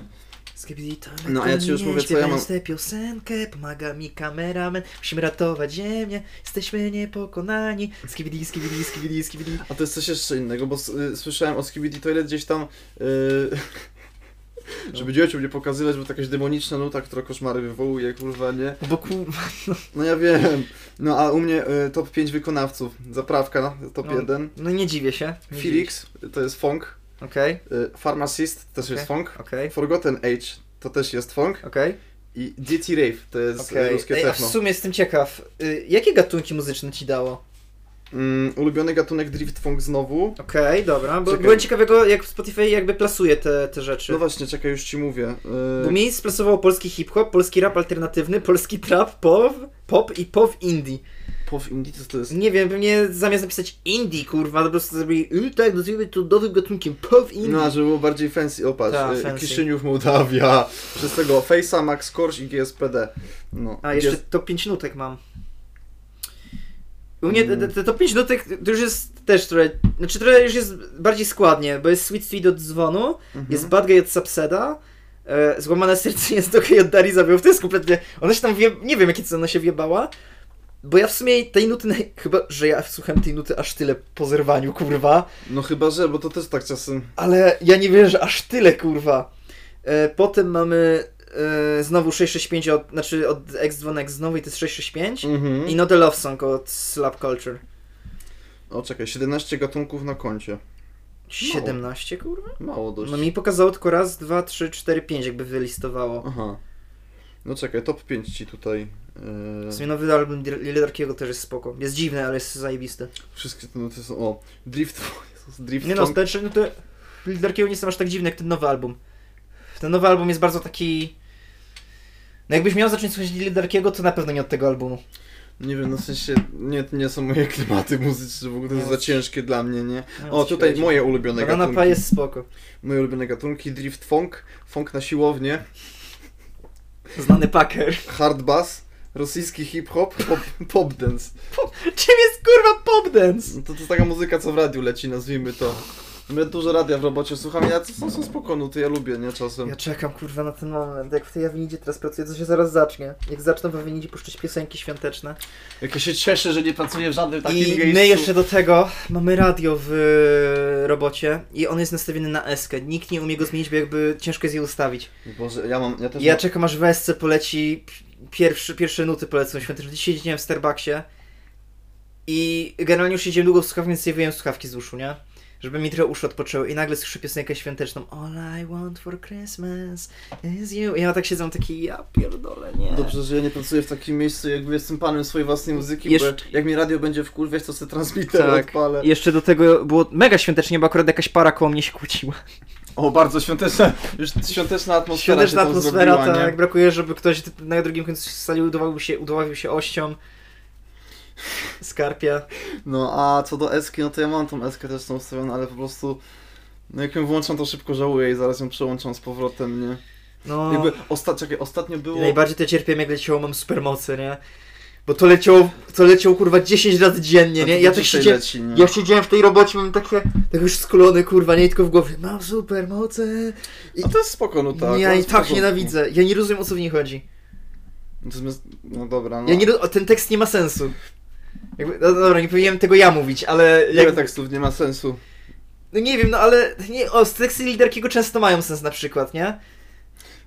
A: Skibidi Toilet.
B: No, a ja ci już
A: nie,
B: mówię, co ja
A: śpiewając
B: mam.
A: tę piosenkę, pomaga mi kameramen. Musimy ratować ziemię, jesteśmy niepokonani. Skibidi, skibidi, skibidi, skibidi.
B: A to jest coś jeszcze innego, bo s- y, słyszałem o Skibidi Toilet gdzieś tam, y, (laughs) żeby dzieciom nie pokazywać, bo to jakaś demoniczna nuta, która koszmary wywołuje, kurwa, nie?
A: Bo kurwa,
B: No ja wiem. No a u mnie y, top 5 wykonawców. Zaprawka, top
A: No,
B: 1.
A: no nie dziwię się. nie dziwię się.
B: Felix, to jest funk.
A: Okej,
B: Y, Pharmacist, też jest funk.
A: okej,
B: Forgotten Age, to też jest funk.
A: okej.
B: I DT Rave, to jest y,
A: okej.
B: ruskie
A: Ej, a w
B: techno.
A: sumie jestem ciekaw, y, jakie gatunki muzyczne ci dało?
B: Mm, ulubiony gatunek Drift Funk znowu.
A: Okej, dobra, bo
B: Czekaj.
A: byłem ciekawego, jak Spotify jakby plasuje te, te rzeczy.
B: No właśnie, czekaj, już ci mówię. Y,
A: Bo mi splasowało polski hip-hop, polski rap alternatywny, polski trap, pop, pop i pop indie.
B: Pow Indie, co to jest?
A: Nie wiem, pewnie zamiast napisać indie, kurwa, to po prostu zrobili "Y, tak, nazwijmy to nowym gatunkiem pop indie.
B: No, a żeby było bardziej fancy, opatrz.
A: Ta,
B: y,
A: fancy.
B: Kiszyniów, Mołdawia. Przez tego Face'a, Max Korsz i GSPD. No.
A: A, jeszcze
B: Jest-
A: top 5 nutek mam. U mnie te,
B: Mm.
A: te, te top 5 nutek to już jest też trochę, znaczy trochę już jest bardziej składnie, bo jest Sweet Sweet od Dzwonu,
B: Mhm.
A: jest Bad Guy od Subseda, e, Złamane Serce jest OK od Dari Zabił, to jest kompletnie, ona się tam, wie, nie wiem jakie co ona się wiebała, bo ja w sumie tej nuty, naj... chyba, że ja słucham tej nuty aż tyle po zerwaniu, kurwa,
B: No chyba, że, bo to też tak czasem...
A: ale ja nie wierzę, że aż tyle, kurwa. E, potem mamy e, znowu 665 od, znaczy od X2X znowu i to jest 665
B: Mhm.
A: i no- Not a Love Song od Slap Culture.
B: O, czekaj, 17 gatunków na koncie.
A: 17, kurwa?
B: Mało No. dość. Mhm.
A: No mi pokazało tylko raz, dwa, trzy, cztery, pięć jakby wylistowało.
B: Aha. No czekaj, top 5 ci tutaj.
A: W
B: Yy,
A: sumie nowy album Lidarkiego też jest spoko. Jest dziwny, ale jest zajebisty.
B: y, wszystkie te nuty są. O, Drift. Jezus, Drift.
A: Nie no, starszy, no to Lidarkiego nie są aż tak dziwne jak ten nowy album. Ten nowy album jest bardzo taki... No jakbyś miał zacząć słuchać Lidarkiego, to na pewno nie od tego albumu.
B: nie wiem, no w sensie nie, to nie są moje klimaty muzyczne, w ogóle to
A: Nie,
B: jest
A: no,
B: za ciężkie dla mnie, nie?
A: No,
B: O,
A: coś
B: tutaj
A: powiedzieć.
B: moje ulubione
A: Rana
B: gatunki.
A: Pa jest spoko.
B: Moje ulubione gatunki, Drift Funk, Funk na siłownię,
A: Znany paker. (laughs)
B: Hard Bass, rosyjski hip-hop, pop, (laughs) pop dance.
A: Czym jest kurwa pop dance?
B: No to, to jest taka muzyka, co w radiu leci, nazwijmy to. Ja dużo radia w robocie słucham, ja są, są spoko, no to ja lubię, nie, czasem.
A: Ja czekam kurwa na ten moment. Jak w tej Awinidzie teraz pracuję, to się zaraz zacznie. Jak zaczną w Awinidzie puszczać piosenki świąteczne.
B: Jak ja się cieszę, że nie pracuję w żadnym takim
A: I
B: miejscu.
A: my jeszcze do tego mamy radio w e, robocie i on jest nastawiony na eskę. Nikt nie umie go zmienić, bo jakby ciężko jest je ustawić.
B: Boże, ja mam, ja też
A: Ja
B: mam...
A: czekam aż w esce poleci, pi- pierwszy, pierwsze nuty polecą świąteczne. Dzisiaj siedziałem w Starbucksie i generalnie już siedziałem długo w słuchawkach, więc nie wyjąłem słuchawki z uszu, nie? Żeby mi trochę uszy odpoczęły i nagle słyszę piosenkę świąteczną All I want for Christmas is you. I ja tak siedzę taki, ja pierdolę, nie.
B: Dobrze, że ja nie pracuję w takim miejscu, jakby jestem panem swojej własnej muzyki,
A: Jeszcze-
B: bo jak mi radio będzie wkurwiać, to sobie transmitter
A: Tak.
B: odpalę.
A: I Jeszcze do tego było mega świątecznie, bo akurat jakaś para koło mnie się kłóciła.
B: O, bardzo świąteczna, już świąteczna atmosfera
A: Świąteczna
B: się tam
A: atmosfera,
B: zrobiła,
A: tak.
B: nie?
A: Brakuje, żeby ktoś na drugim końcu sali udawał się, udławił się ością. Skarpia.
B: No, a co do eski, no to ja mam tą eskę też tą ustawioną, ale po prostu... No jak ją włączam, to szybko żałuję i zaraz ją przełączam z powrotem, nie?
A: No.
B: Jakby, osta- czekaj, ostatnio było...
A: I najbardziej to cierpię, jak leciało mam supermocy, nie? Bo to leciało, to leciało kurwa 10 razy dziennie,
B: No to
A: nie?
B: do
A: Ja też
B: dzisiaj
A: siedziałem,
B: leci, nie?
A: ja siedziałem w tej robocie, mam takie, tak już skulony kurwa, nie tylko w głowie, mam supermocy.
B: A to jest spoko, no tak.
A: ja
B: to
A: i
B: jest
A: tak
B: spoko.
A: nienawidzę, ja nie rozumiem o co w niej chodzi.
B: Natomiast- No dobra, no.
A: Ja nie, ro- o, ten tekst nie ma sensu. Jakby, no dobra, nie powinienem tego ja mówić, ale
B: Wiele
A: jakby,
B: tak słów nie ma sensu.
A: No nie wiem, no ale nie, o, teksty liderkiego często mają sens na przykład, nie?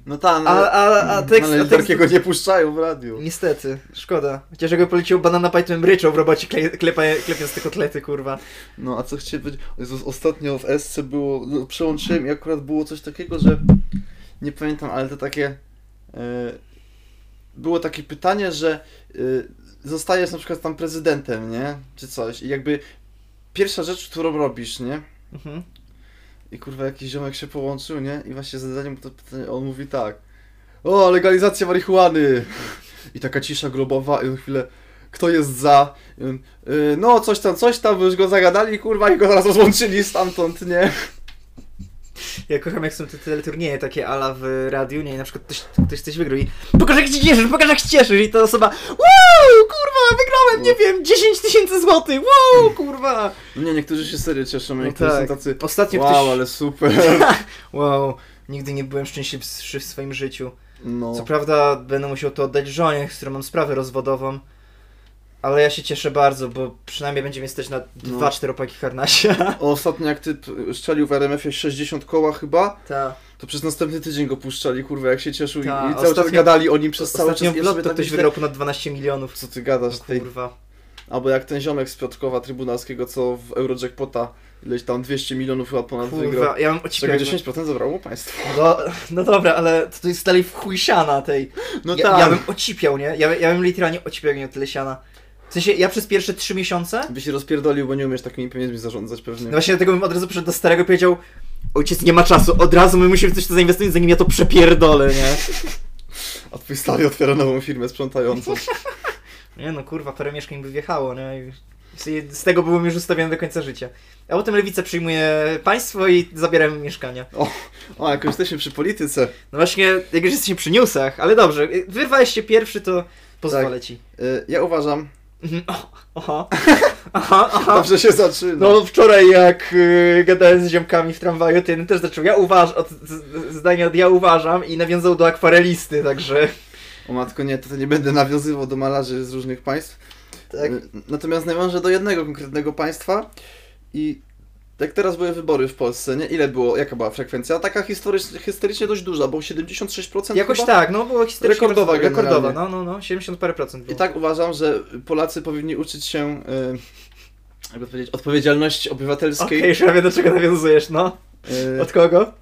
B: No tak, no,
A: A, a, a tekst...
B: ale
A: a tekst
B: takiego nie puszczają w radiu.
A: Niestety, szkoda. Chociaż jakby polecił banana Python ryczał w robocie kle, klepa, klepiąc te kotlety, kurwa.
B: No a co chciałem powiedzieć? O Jezus, ostatnio w SC było, no, przełączyłem i akurat było coś takiego, że nie pamiętam, ale to takie e, było takie pytanie, że e, zostajesz na przykład tam prezydentem, nie? Czy coś. I jakby pierwsza rzecz, którą robisz, nie?
A: Mhm.
B: I kurwa jakiś ziomek się połączył, nie? I właśnie zadanie mu to pytanie, on mówi tak. O, legalizacja marihuany! I taka cisza grobowa, i on chwilę, kto jest za? I on, y, no, coś tam, coś tam, bo już go zagadali, kurwa, i go zaraz rozłączyli stamtąd, nie?
A: Ja kocham jak są te teleturnieje takie ala w radiu, nie? I na przykład ktoś, ktoś coś wygrał i pokaż jak się cieszysz, pokaż jak się cieszysz i ta osoba Wow, kurwa, wygrałem, nie wiem, 10 tysięcy złotych, wow, kurwa.
B: No Nie, niektórzy się serio cieszą,
A: No
B: niektórzy
A: tak.
B: są tacy,
A: Ostatnio
B: wow,
A: ktoś...
B: ale super.
A: Wow, nigdy nie byłem szczęśliwszy w swoim życiu.
B: No,
A: Co prawda będę musiał to oddać żonie, z którą mam sprawę rozwodową. Ale ja się cieszę bardzo, bo przynajmniej będzie mi stać na
B: No.
A: dwa czteropaki harnasia.
B: ostatnio jak typ szczelił w RMF-ie 60 koła chyba,
A: Ta.
B: to przez następny tydzień go puszczali, kurwa, jak się cieszył i, i
A: Ta,
B: cały czas
A: ostatnio-
B: gadali o nim przez cały
A: Ostatnio
B: czas.
A: w
B: Ja
A: lotto
B: sobie tak
A: ktoś
B: myślę,
A: wygrał ponad 12 milionów.
B: Co ty gadasz, tej
A: Kurwa.
B: Albo jak ten ziomek z Piotrkowa Trybunalskiego, co w Eurojackpota ileś tam 200 milionów chyba ponad wygrał.
A: Kurwa, ja mam
B: Czego
A: ociepienie.
B: 10% zabrało państwo.
A: No, no dobra, ale to, to jest dalej w chuj siana tej.
B: No
A: ja,
B: tak.
A: ja bym ocipiał, nie? Ja, ja bym literalnie ocipiał nie o tyle siana. W sensie, ja przez pierwsze trzy miesiące
B: By się rozpierdolił, bo nie umiesz takimi pieniędzmi zarządzać pewnie.
A: No właśnie dlatego bym od razu przyszedł do starego i powiedział Ojciec nie ma czasu, od razu my musimy w coś to zainwestować, zanim ja to przepierdolę, nie?
B: A twój stary otwiera nową firmę sprzątającą.
A: Nie no kurwa, parę mieszkań by wjechało, nie? I sobie- Z tego byłem już ustawiony do końca życia. A potem lewica przyjmuje państwo i zabieramy mieszkania.
B: O, jak już jesteśmy przy polityce.
A: No właśnie, jak już jesteśmy przy newsach, ale dobrze, wyrwałeś się pierwszy, to pozwolę ci.
B: y, Ja uważam,
A: Tak. Mhm, o, (laughs) Aha, aha, aha.
B: dobrze się zaczyna.
A: No wczoraj jak y, gadałem z ziomkami w tramwaju, to jeden też zaczął, ja uważam, od z, z- zdania od ja uważam i nawiązał do akwarelisty, także...
B: O matko, nie, to, to nie będę nawiązywał do malarzy z różnych państw.
A: Tak.
B: Y, Natomiast nawiążę do jednego konkretnego państwa i jak teraz były wybory w Polsce, nie? Ile było, jaka była frekwencja? Taka historycznie, historycznie dość duża, bo 76%
A: Jakoś
B: chyba?
A: tak, no było historycznie
B: Rekordowa
A: bardzo- rekordowa, no
B: generalnie.
A: no no, 70 parę procent było.
B: I tak uważam, że Polacy powinni uczyć się y, jakby to powiedzieć, odpowiedzialności
A: Okej,
B: obywatelskiej
A: już ja wiem do czego nawiązujesz, no.
B: y,
A: Od kogo?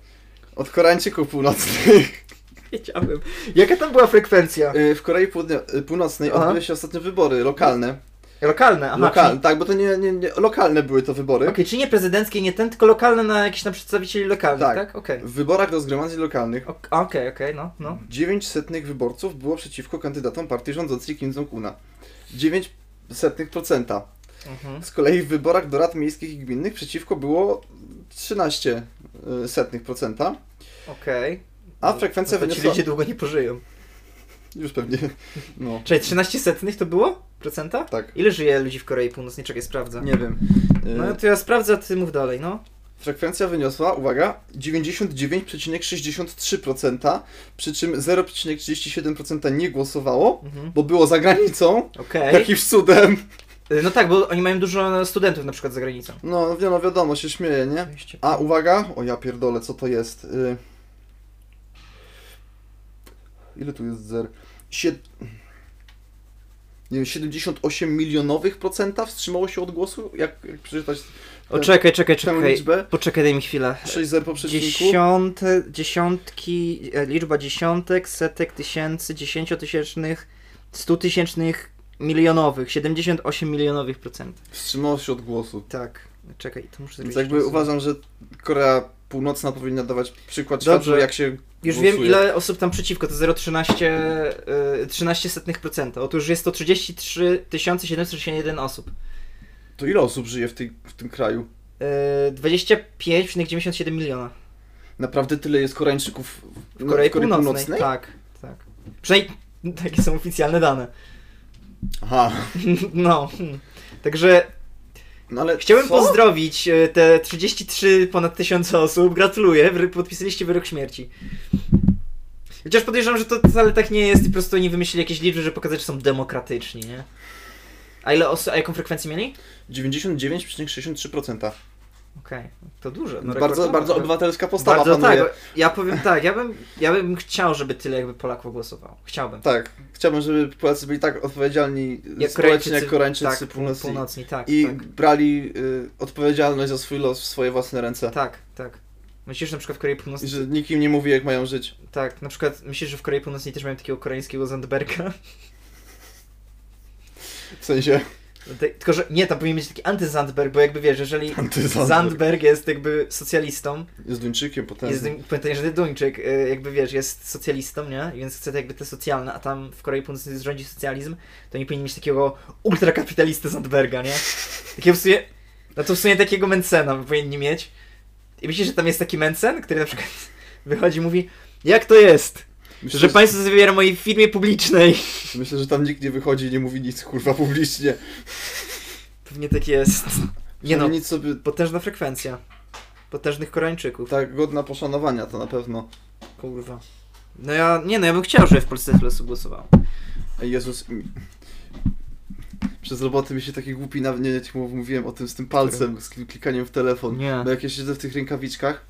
B: od Koreańczyków północnych.
A: wiedziałem. Jaka tam była frekwencja?
B: Y, W Korei Południo- y, Północnej
A: Tak. Aha.
B: odbyły się ostatnio wybory lokalne.
A: Lokalne, aha.
B: Lokal,
A: czyli-
B: tak, bo to nie, nie, nie, lokalne były to wybory.
A: Okej, czy nie prezydenckie, nie ten, tylko lokalne na jakichś tam przedstawicieli lokalnych,
B: Tak.
A: tak? Okej.
B: W wyborach do zgromadzeń lokalnych
A: Ok- Okej, okej, no, no.
B: 900 wyborców było przeciwko kandydatom partii rządzącej Kim Jong-una. 900%.
A: Mhm.
B: Z kolei w wyborach do rad miejskich i gminnych przeciwko było 13%.
A: Okej.
B: A frekwencja
A: no to ci
B: wyniosła...
A: ludzie długo nie pożyją.
B: Już pewnie. No,
A: Czyli 13 setnych to było? Procenta?
B: tak.
A: Ile żyje ludzi w Korei Północnej? Czekaj, sprawdzam.
B: Nie wiem. Y,
A: No to ja sprawdzę, a ty mów dalej, no.
B: Frekwencja wyniosła, uwaga, 99,63%, przy czym 0,37% nie głosowało,
A: Mhm.
B: bo było za granicą.
A: Okej.
B: Jakimś cudem.
A: Y, No tak, bo oni mają dużo studentów na przykład za granicą.
B: No, wi- no wiadomo, się śmieje, nie? A uwaga, o ja pierdolę, co to jest? Y... Ile tu jest zer? Sied... Nie wiem, 78 milionowych procenta wstrzymało się od głosu? Jak, jak przeczytać
A: O, czekaj, czekaj,
B: tę
A: czekaj.
B: liczbę?
A: Poczekaj, daj mi chwilę.
B: 6 zer po przecinku.
A: Dziesiąte, dziesiątki, e, liczba dziesiątek, setek, tysięcy, dziesięciotysięcznych, stutysięcznych, milionowych, 78 milionowych procent.
B: Wstrzymało się od głosu.
A: Tak, czekaj, to muszę zrobić.
B: Więc jakby
A: jeszcze raz.
B: uważam, że Korea Północna powinna dawać przykład
A: Dobrze.
B: światu, jak się
A: Już
B: głosuje.
A: wiem ile osób tam przeciwko, to 0,13 y, 13 setnych procenta. Otóż jest to 33 761 osób.
B: To ile osób żyje w, tej, w tym kraju?
A: Y, 25,97 miliona
B: Naprawdę tyle jest Koreańczyków No, w,
A: w Korei,
B: w
A: Północnej. Tak, tak. Przynajmniej (laughs) takie są oficjalne dane. (laughs)
B: Aha.
A: No. hmm. Także
B: No ale
A: Chciałem
B: co?
A: pozdrowić e, te 33 ponad 1000 osób. Gratuluję, wy- podpisaliście wyrok śmierci. Chociaż podejrzewam, że to wcale tak nie jest i po prostu oni wymyślili jakieś liczby, żeby pokazać, że są demokratyczni, nie? A ile osób, a jaką frekwencję mieli?
B: 99,63%.
A: Okej, to dużo. No,
B: bardzo,
A: rekordowe.
B: bardzo obywatelska postawa
A: Bardzo
B: panuje.
A: tak, ja powiem tak, ja bym, ja bym chciał, żeby tyle jakby Polaków głosowało. Chciałbym.
B: Tak. Chciałbym, żeby Polacy byli tak odpowiedzialni społecznie jak Koreańczycy
A: tak,
B: północni.
A: północni. Tak,
B: I
A: tak,
B: brali y, odpowiedzialność za swój los w swoje własne ręce.
A: tak, tak. Myślisz, że na przykład w Korei
B: I
A: Północnej
B: że nikt im nie mówi, jak mają żyć.
A: Tak, na przykład myślisz, że w Korei Północnej też mają takiego koreańskiego Zandberga? (laughs)
B: W sensie...
A: No te- Tylko, że nie, tam powinien być taki antyzandberg, bo jakby wiesz, jeżeli
B: Antyzandberg.
A: Zandberg jest jakby socjalistą,
B: Jest Duńczykiem potem.
A: jest, pamiętaj, że Duńczyk y, jakby wiesz, jest socjalistą, nie? Więc chce te jakby te socjalne, a tam w Korei Północnej rządzi socjalizm, to nie powinien mieć takiego ultrakapitalistę Zandberga, nie? Takiego w sumie, no to w sumie takiego Mencena powinni mieć. I myślisz, że tam jest taki Mencen, który na przykład wychodzi i mówi, jak to jest,
B: Myślę,
A: że państwo zawiera mojej firmie publicznej?
B: Myślę, że tam nikt nie wychodzi i nie mówi nic kurwa publicznie.
A: Pewnie tak
B: (laughs)
A: jest. Nie no,
B: nic sobie
A: potężna frekwencja. Potężnych Koreańczyków. tak,
B: tak godna poszanowania to na pewno.
A: Kurwa. No ja, nie no, ja bym chciał, żeby w Polsce tyle osób głosowało.
B: Ej, Jezus. mi- Przez roboty mi się taki głupi na nie, nie ci mów- mówiłem o tym z tym palcem, z kli- klikaniem w telefon.
A: Nie.
B: Bo jak ja siedzę w tych rękawiczkach,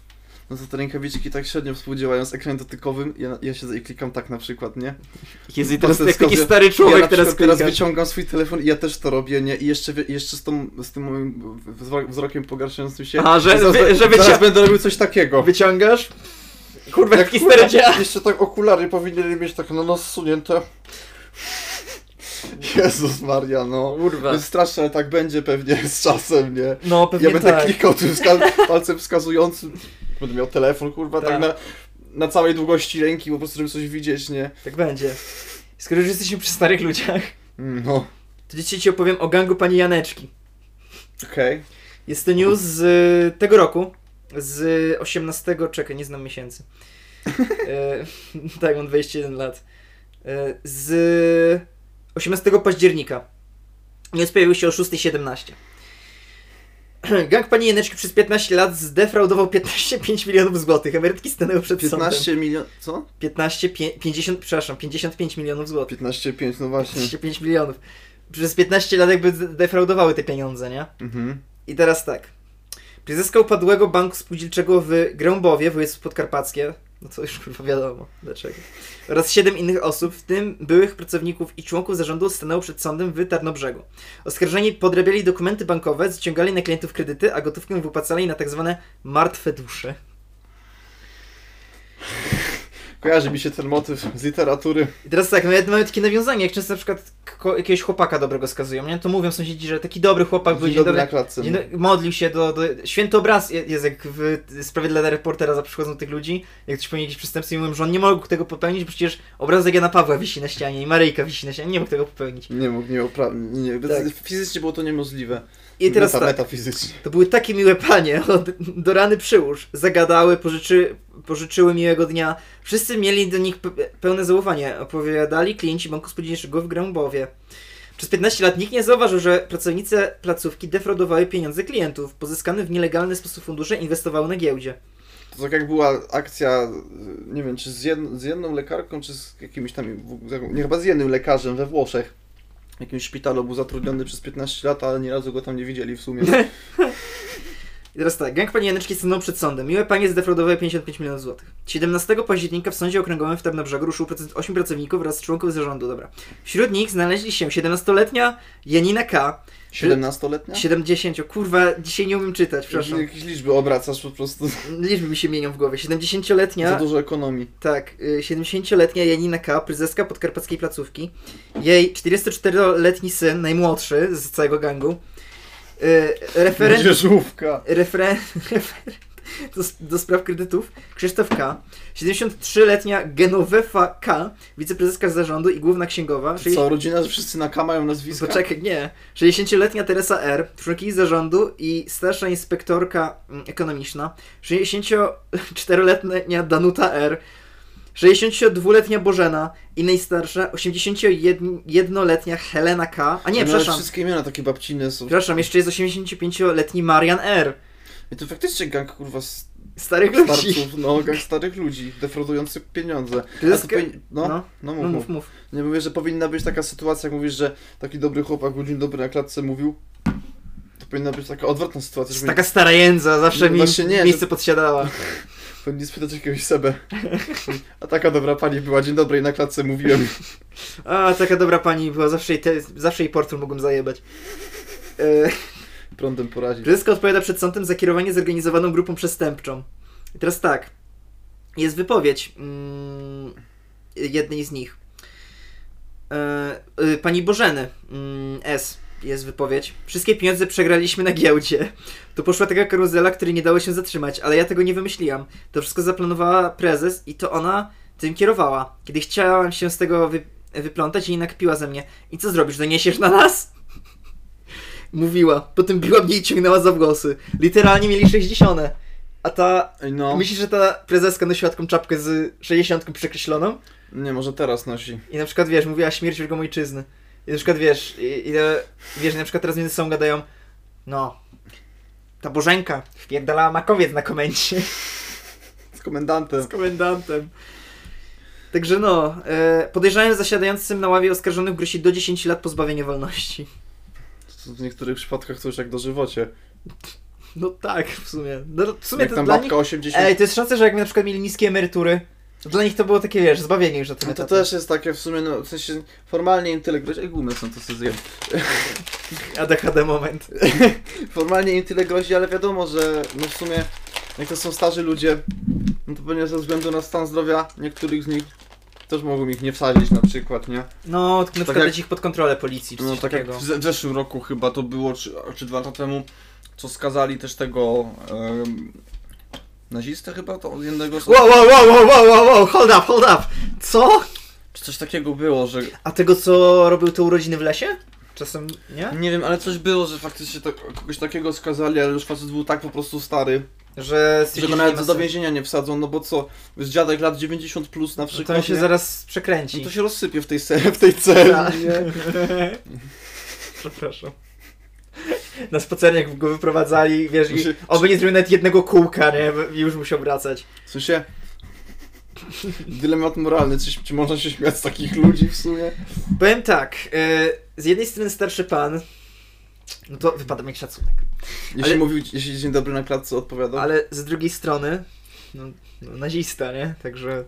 B: no to te rękawiczki tak średnio współdziałają z ekranem dotykowym. Ja, ja siedzę i klikam tak na przykład, nie?
A: Jezu, i
B: Po
A: teraz
B: prostu
A: jak taki
B: skopię-
A: stary
B: ja
A: człowiek
B: na
A: teraz
B: przykład teraz
A: klika.
B: wyciągam swój telefon i ja też to robię, nie? I jeszcze, wie- jeszcze z, tą, z tym moim wzro- wzrokiem pogarszającym się.
A: A, że-
B: zaraz,
A: wy- że wycia-
B: zaraz będę robił coś takiego.
A: Wyciągasz? Kurwa,
B: Jak
A: taki
B: kurwa,
A: stary dziad.
B: Jeszcze tak okulary powinien mieć tak na nos sunięte. Jezus Maria, no. To
A: Kurwa.
B: jest straszne, ale tak będzie pewnie z czasem, nie?
A: No, pewnie
B: ja będę
A: tak.
B: klikał tym
A: (laughs)
B: wska- palcem wskazującym. Będę miał telefon, kurwa, tak,
A: Tak.
B: na, na całej długości ręki, po prostu żeby coś widzieć, nie?
A: Tak będzie. Skoro już jesteśmy przy starych ludziach,
B: Mm, No,
A: to dzisiaj ci opowiem o gangu pani Janeczki.
B: okej.
A: Jest to news z y, tego roku. Z 18. Czekaj, nie znam miesięcy. E, (laughs) tak, mam 21 lat. E, z 18 października. News pojawił się o 6.17. (clears throat) Gang pani Jeneczki przez 15 lat zdefraudował 15,5 milionów złotych. Emerytki stanęły przed 15... sądem.
B: 15 milion... co?
A: 15, pię- 50, przepraszam, 55 milionów złotych.
B: 15,5, no właśnie.
A: 55 milionów. Przez 15 lat jakby defraudowały te pieniądze, nie?
B: Mhm.
A: I teraz tak. Prezeska upadłego banku spółdzielczego w Grąbowie, województwo podkarpackie, no to już kurwa wiadomo dlaczego, oraz siedem innych osób, w tym byłych pracowników i członków zarządu, stanęło przed sądem w Tarnobrzegu. Oskarżeni podrabiali dokumenty bankowe, zaciągali na klientów kredyty, a gotówkę wypłacali na tak zwane martwe dusze.
B: Kojarzy mi się ten motyw z literatury.
A: I teraz tak, mamy, mamy takie nawiązanie, jak często na przykład ko- jakiegoś chłopaka dobrego skazują, nie? To mówią sąsiedzi, że taki dobry chłopak był,
B: Dzień
A: dzień
B: dobry na
A: dobry,
B: klatce.
A: dzień dobry, no, modlił się do, do... Święty obraz je- jest jak w sprawie dla reportera zawsze przychodzą tych ludzi, jak ktoś popełni jakiś przestępstwo i mówią, że on nie mógł tego popełnić, bo przecież obrazek Jana Pawła wisi na ścianie i Maryjka wisi na ścianie, nie mógł tego popełnić.
B: Nie mógł, nie oprawnił. Nie,
A: Tak.
B: Fizycznie było to niemożliwe.
A: I teraz
B: Meta,
A: tak,
B: Metafizycznie.
A: to były takie miłe panie, (laughs) od, do rany przyłóż, zagadały, pożyczy, pożyczyły miłego dnia, wszyscy mieli do nich pe- pełne zaufanie, opowiadali klienci Banku Spółdzielczego w Grębowie. Przez 15 lat nikt nie zauważył, że pracownice placówki defraudowały pieniądze klientów. Pozyskane w nielegalny sposób fundusze inwestowały na giełdzie.
B: To tak jak była akcja, nie wiem, czy z, jed, z jedną lekarką, czy z jakimś tam, w- z jaką- nie chyba z jednym lekarzem we Włoszech. W jakimś szpitalu był zatrudniony przez 15 lat, ale ani razu go tam nie widzieli w sumie.
A: (laughs) I teraz tak, gang pani Janeczki stanął przed sądem. Miłe panie zdefraudowały 55 milionów złotych. 17 października w sądzie okręgowym w Tarnobrzegu ruszył proces 8 pracowników wraz z członków zarządu, dobra. Wśród nich znaleźli się 17-letnia Janina K.,
B: 17-letnia?
A: 70, kurwa, dzisiaj nie umiem czytać, przepraszam.
B: Jakieś liczby obracasz po prostu. (laughs)
A: Liczby mi się mienią w głowie.
B: Za
A: 70-letnia,
B: dużo ekonomii.
A: tak, y, 70-letnia Janina K., prezeska podkarpackiej placówki. Jej 44-letni syn, najmłodszy z całego gangu. y, Referent,
B: Młodzieżówka.
A: referen, referent do, do spraw kredytów Krzysztof K., 73-letnia Genovefa K., wiceprezeska zarządu i główna księgowa.
B: To Co, rodzina, że wszyscy na K mają nazwiska?
A: Znaczy- Poczekaj, nie. 60-letnia Teresa R., członkini zarządu i starsza inspektorka mm, ekonomiczna. 64-letnia Danuta R., 62-letnia Bożena i najstarsza 81-letnia Helena K. A nie,
B: No, ale
A: przepraszam.
B: Wszystkie imiona takie babcine są.
A: Przepraszam, jeszcze jest 85-letni Marian R.
B: I to faktycznie gang kurwa starych
A: Starych ludzi.
B: starców, no gang starych ludzi, defraudujący pieniądze.
A: To
B: A
A: jest
B: to
A: ge-
B: powin... no, no,
A: no.
B: no mów,
A: No mów,
B: mów.
A: mów.
B: Nie mówię, że powinna być taka sytuacja, jak mówisz, że taki dobry chłopak był dzień dobry na klatce mówił. To powinna być taka odwrotna sytuacja, żeby
A: Taka stara jędza zawsze mi
B: Właśnie nie,
A: miejsce
B: że-
A: podsiadała.
B: powinni spytać jakiegoś sebe. A taka dobra pani była, dzień dobry i na klatce mówiłem. (laughs)
A: A, taka dobra pani była, zawsze jej, te, zawsze jej portfel mogłem zajebać. E,
B: Prądem porazić.
A: Brzeska odpowiada przed sądem za kierowanie zorganizowaną grupą przestępczą. I teraz tak. Jest wypowiedź mm, jednej z nich. E, e, pani Bożeny mm, S. Jest wypowiedź. Wszystkie pieniądze przegraliśmy na giełdzie. To poszła taka karuzela, której nie dało się zatrzymać, ale ja tego nie wymyśliłam. To wszystko zaplanowała prezes i to ona tym kierowała. Kiedy chciałam się z tego wy- wyplątać, jej nakpiła ze mnie. I co zrobisz? Doniesiesz na nas? Mówiła. Potem biła mnie i ciągnęła za włosy. Literalnie mieli 60. A ta.
B: Ej, No,
A: Myślisz, że ta prezeska nosiła taką czapkę z 60 przekreśloną?
B: nie, może teraz nosi.
A: I na przykład wiesz, mówiła śmierć wielką ojczyzny. I na przykład wiesz, i- ile. Wiesz, na przykład teraz między sobą gadają. No. Ta Bożenka wpierdalała makowiec na komencie
B: Z komendantem.
A: (laughs) z komendantem. Także no, e, podejrzanym zasiadającym na ławie oskarżonych grozi do 10 lat pozbawienia wolności.
B: W niektórych przypadkach to już jak dożywocie.
A: No tak, w sumie. No, w sumie
B: Jak
A: to
B: tam
A: dla
B: babka
A: nich
B: 80.
A: Ej, to jest szansa, że jakby na przykład mieli niskie emerytury, to dla nich to było takie, wiesz, zbawienie już na tym
B: No to
A: etapie.
B: też jest takie w sumie, no w sensie formalnie intellekt, grozi, ej gumy są to sobie zjem.
A: ADHD moment.
B: Formalnie im tyle grozi, ale wiadomo, że no w sumie jak to są starzy ludzie, no to pewnie ze względu na stan zdrowia niektórych z nich też mogą ich nie wsadzić na przykład, nie?
A: No, tylko na przykład
B: jak-
A: dać ich pod kontrolę policji czy
B: No
A: coś
B: tak jak
A: takiego.
B: w ze- w zeszłym roku chyba to było, czy, czy dwa lata temu, co skazali też tego em, nazistę chyba, to od jednego z...
A: Wow, wow, wow, wow, wow, wow, wow, hold up, hold up! Co?
B: Czy coś takiego było, że...
A: A tego, co robił te urodziny w lesie? Czasem, nie?
B: Nie wiem, ale coś było, że faktycznie to, kogoś takiego skazali, ale już facet był tak po prostu stary,
A: Że
B: że go
A: stwierdzili,
B: nawet
A: nie ma
B: do
A: sensu.
B: więzienia nie wsadzą, no bo co, z dziadek lat 90 plus na
A: No
B: przykład,
A: To się
B: nie?
A: zaraz
B: No
A: przekręci. (laughs)
B: to się rozsypie w tej, se- w tej celi.
A: Tak. Przepraszam. Na spacerniak go wyprowadzali, wiesz, i
B: Musi-
A: oby nie zrobił nawet jednego kółka, nie? I już musiał wracać.
B: W sensie, dylemat moralny, czy, czy można się śmiać z takich ludzi w sumie?
A: Powiem tak, y, z jednej strony starszy pan, no to wypada mi jak szacunek,
B: Jeśli
A: Ale-
B: mówił, jeśli dzień dobry na klatce odpowiadał.
A: ale z drugiej strony, no, no nazista, nie? Także,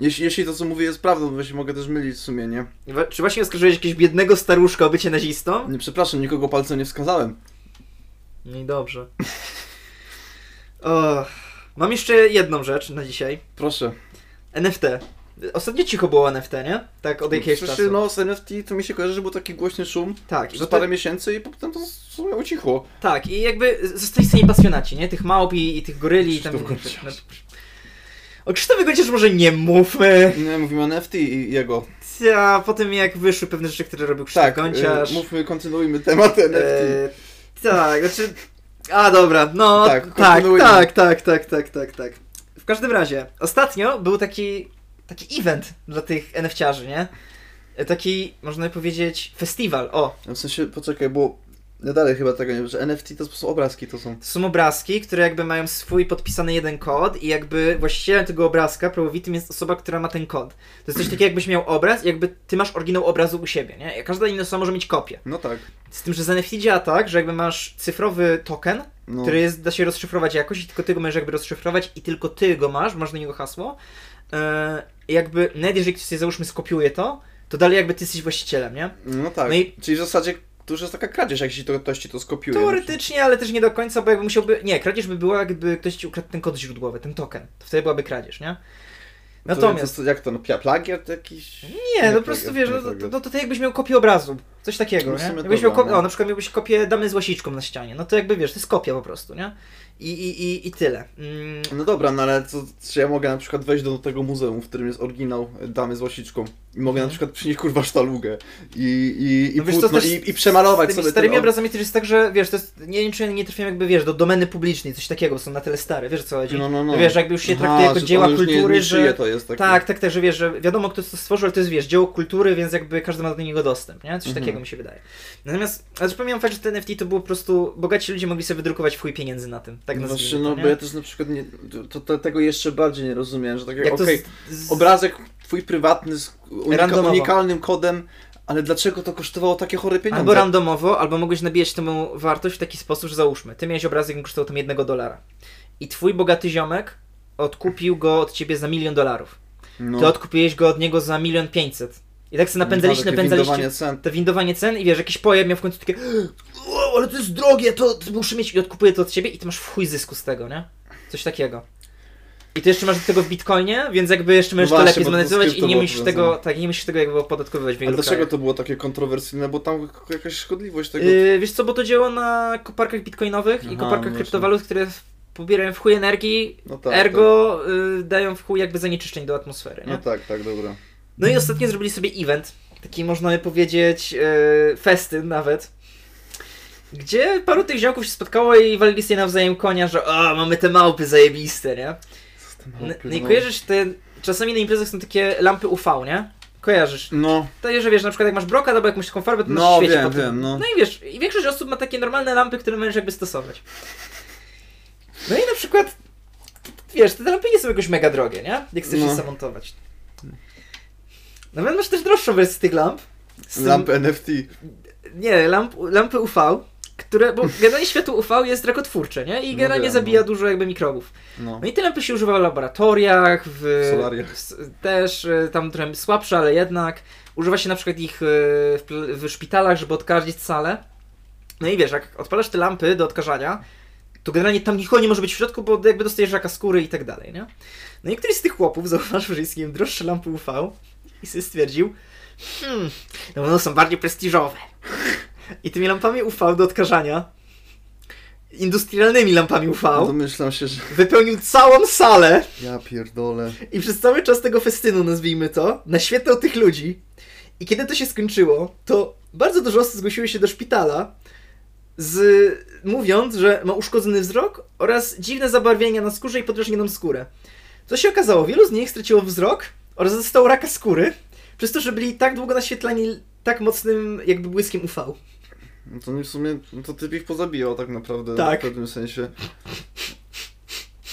B: Jeśli, jeśli to co mówię jest prawdą, bo się mogę też mylić w sumie, nie?
A: Wa- czy właśnie oskarżyłeś jakiegoś biednego staruszka o bycie nazistą?
B: Nie, przepraszam, nikogo palcem nie wskazałem.
A: No i dobrze. Och, mam jeszcze jedną rzecz na dzisiaj.
B: Proszę.
A: NFT. Ostatnio cicho było o NFT, nie? Tak od jakiegoś
B: Słyszy,
A: czasu.
B: no z NFT to mi się kojarzy, że był taki głośny szum
A: tak, i
B: przez
A: potem-
B: parę miesięcy i potem to w sumie ucichło.
A: tak, i jakby zostali sami pasjonaci, nie? Tych małp i, i tych goryli i tam...
B: Krzysztof Gąciarz.
A: No, o Krzysztofie Gąciarz może nie mówmy.
B: Nie, mówimy o NFT i jego.
A: A potem jak wyszły pewne rzeczy, które robił Krzysztof
B: Tak,
A: Gąciarz.
B: y, mówmy, kontynuujmy temat NFT.
A: E, tak, znaczy. A dobra, no
B: Tak,
A: tak, tak,
B: kontynuujmy.
A: tak, tak, tak, tak, tak, tak. W każdym razie, ostatnio był taki taki event dla tych NFciarzy, nie? E, Taki, można powiedzieć, festiwal. O,
B: No W sensie, poczekaj, bo ja dalej chyba tego nie wiem, że NFT to są obrazki, to są.
A: to są obrazki, które jakby mają swój podpisany jeden kod i jakby właścicielem tego obrazka prawowitym jest osoba, która ma ten kod. To jest coś takiego, jakbyś miał obraz i jakby ty masz oryginał obrazu u siebie, nie? Każda inna osoba może mieć kopię.
B: No tak.
A: Z tym, że z NFT działa tak, że jakby masz cyfrowy token,
B: No.
A: który jest, da się rozszyfrować jakoś i tylko ty go możesz jakby rozszyfrować i tylko ty go masz, masz na niego hasło. Yy, jakby, nawet jeżeli ktoś sobie załóżmy skopiuje to, to dalej jakby ty jesteś właścicielem, nie?
B: No tak.
A: No i-
B: Czyli w zasadzie to już jest taka kradzież, jak się to, ktoś ci to skopiuje. no
A: Teoretycznie, ale też nie do końca, bo jakby musiałby, nie, kradzież by była jakby ktoś ci ukradł ten kod źródłowy, ten token, to wtedy byłaby kradzież, nie?
B: To-
A: Natomiast,
B: To, to, jak to, no, pia- plagiat jakiś?
A: nie, no po
B: plagiat,
A: prostu wiesz, no,
B: nie
A: to,
B: plagiat.
A: to, to ty jakbyś miał kopię obrazu, coś takiego,
B: No w
A: nie?
B: sumie
A: Jakbyś
B: dobra,
A: miał kopię,
B: no.
A: o, na przykład miałbyś kopię damy z łasiczką na ścianie, no to jakby wiesz, to jest kopia po prostu, nie? I, i, i, i tyle. Mm,
B: No dobra, no ale co, czy ja mogę na przykład wejść do tego muzeum, w którym jest oryginał damy z łasiczką i mogę na
A: Mhm.
B: przykład przynieść kurwa sztalugę i, i, i
A: No wiesz co,
B: płótno
A: też
B: i, i przemalować
A: z tymi
B: sobie
A: starymi
B: ten...
A: obrazami też jest tak, że wiesz, to jest, nie wiem czy nie trafiłem jakby, wiesz, do domeny publicznej, coś takiego, bo są na tyle stare, wiesz o co chodzi.
B: No, no, no.
A: Wiesz, jakby już się
B: Aha,
A: traktuje jako
B: że
A: dzieła
B: ono już
A: kultury,
B: nie, nie
A: że...
B: żyje, to jest takie.
A: Tak, tak, tak, że wiesz, że wiadomo kto to stworzył, ale to jest, wiesz, dzieło kultury, więc jakby każdy ma do niego dostęp, nie? Coś
B: Mhm.
A: takiego mi się wydaje. Natomiast, ale pomijam fakt, że ten NFT to było po prostu, bogaci ludzie mogli sobie wydrukować w chuj pieniędzy na tym, tak
B: no
A: nazwijmy
B: właśnie,
A: to,
B: no
A: nie?
B: bo ja też na przykład nie, to, to, tego jeszcze bardziej nie rozumiem, że tak jak,
A: Jak to
B: okej,
A: z, z...
B: obrazek twój prywatny z unika,
A: Randomowo.
B: unikalnym kodem, ale dlaczego to kosztowało takie chore pieniądze?
A: Albo randomowo, albo mogłeś nabijać temu wartość w taki sposób, że załóżmy, ty miałeś obrazek, który kosztował tam jednego dolara. I twój bogaty ziomek odkupił go od ciebie za milion dolarów.
B: no.
A: Ty odkupiłeś go od niego za milion pięćset. I tak sobie napędzaliście,
B: Takie
A: napędzaliście
B: windowanie cen.
A: to windowanie cen i wiesz, jakiś pojeb miał w końcu takie o, ale to jest drogie, to, to muszę mieć i odkupuję to od ciebie i ty masz w chuj zysku z tego, nie? Coś takiego. I ty jeszcze masz do tego w bitcoinie, więc jakby jeszcze możesz
B: No właśnie,
A: to
B: bo
A: lepiej
B: to z
A: zmonetyzować i
B: krypto
A: nie
B: było
A: musisz
B: powiązane.
A: tego, tak, nie musisz tego jakby opodatkowywać w
B: A
A: wielu
B: dlaczego
A: krajach.
B: to było takie kontrowersyjne? Bo tam jakaś szkodliwość tego...
A: Yy, wiesz co, bo to dzieło na koparkach bitcoinowych
B: Aha,
A: i
B: no
A: koparkach
B: właśnie.
A: kryptowalut, które w- pobierają w chuj energii,
B: no tak,
A: ergo y, dają w chuj jakby zanieczyszczeń do atmosfery,
B: Tak.
A: nie?
B: No tak, tak, dobra.
A: No i ostatnio zrobili sobie event, taki można by powiedzieć yy, festyn nawet, gdzie paru tych ziomków się spotkało i walili sobie nawzajem konia, że o, mamy te małpy zajebiste, nie? No, no i kojarzysz te, czasami na imprezach są takie lampy UV, nie? Kojarzysz.
B: No,
A: To, że wiesz, na przykład jak masz brokat albo jakąś taką farbę, to
B: no,
A: masz świeci
B: wiem,
A: po tym.
B: wiem, no.
A: No i wiesz, i większość osób ma takie normalne lampy, które możesz jakby stosować. No i na przykład, wiesz, te lampy nie są jakoś mega drogie, nie? Jak chcesz
B: No.
A: je zamontować. Nawet masz też droższą wersję tych lamp. Z tym-
B: Lamp NFT.
A: Nie, lamp, lampy UV, które, bo generalnie światło UV jest rakotwórcze, nie? I
B: No
A: generalnie
B: wiem,
A: zabija
B: no.
A: dużo jakby mikrobów.
B: No.
A: No i te lampy się używa w laboratoriach, w...
B: Solariach.
A: s- Też, y, tam trochę słabsze, ale jednak. Używa się na przykład ich y, w, pl- w szpitalach, żeby odkażdzić salę. No i wiesz, jak odpalasz te lampy do odkażania, to generalnie tam nikogo nie może być w środku, bo jakby dostajesz raka skóry i tak dalej, nie? No i któryś z tych chłopów (laughs) zauważył, że jest im droższe lampy UV i sobie stwierdził, hmm, no one są bardziej prestiżowe. (laughs) I tymi lampami UV do odkażania, industrialnymi lampami UV,
B: No Domyślam się, że...
A: wypełnił całą salę
B: Ja pierdolę.
A: i przez cały czas tego festynu, nazwijmy to, naświetlał tych ludzi. I kiedy to się skończyło, to bardzo dużo osób zgłosiło się do szpitala, z, mówiąc, że ma uszkodzony wzrok oraz dziwne zabarwienia na skórze i podrażnioną skórę. Co się okazało, wielu z nich straciło wzrok oraz zostało raka skóry, przez to, że byli tak długo naświetlani tak mocnym jakby błyskiem UV.
B: No to mi w sumie, no to typ ich pozabijał tak naprawdę,
A: Tak.
B: w pewnym sensie.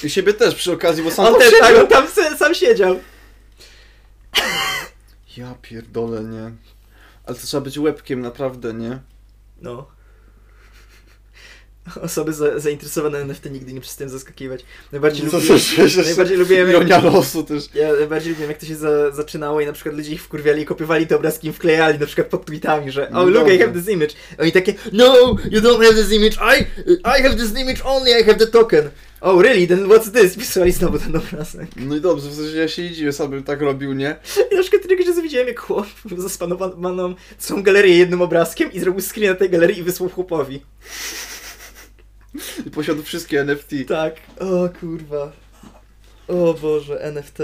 B: I siebie też przy okazji, bo sam
A: On
B: tam
A: ten, tak,
B: siedział.
A: on tam se- sam siedział.
B: Ja pierdolę, nie. Ale to trzeba być łebkiem naprawdę, nie?
A: No. Osoby za, zainteresowane NFT nigdy nie przestają zaskakiwać. Najbardziej
B: Co
A: lubię...
B: to się
A: najbardziej lubiłem-
B: Ironia losu też.
A: Ja najbardziej lubiłem, jak to się za, zaczynało i na przykład ludzie ich wkurwiali i kopiowali te obrazki i wklejali na przykład pod tweetami, że
B: No
A: Oh, look, I
B: dobrze.
A: have this image. Oni takie, no, you don't have this image, I, I have this image only, I have the token. Oh, really, then what's this? Pisali znowu ten obrazek.
B: No i dobrze, w sensie ja się nie dziwię, sam bym tak robił, nie?
A: I na przykład któregoś razu widziałem, jak chłop (laughs) zaspanowaną całą galerię jednym obrazkiem i zrobił screen na tej galerii i wysłał chłopowi.
B: I posiadł wszystkie NFT.
A: Tak, o kurwa. O Boże, NFT.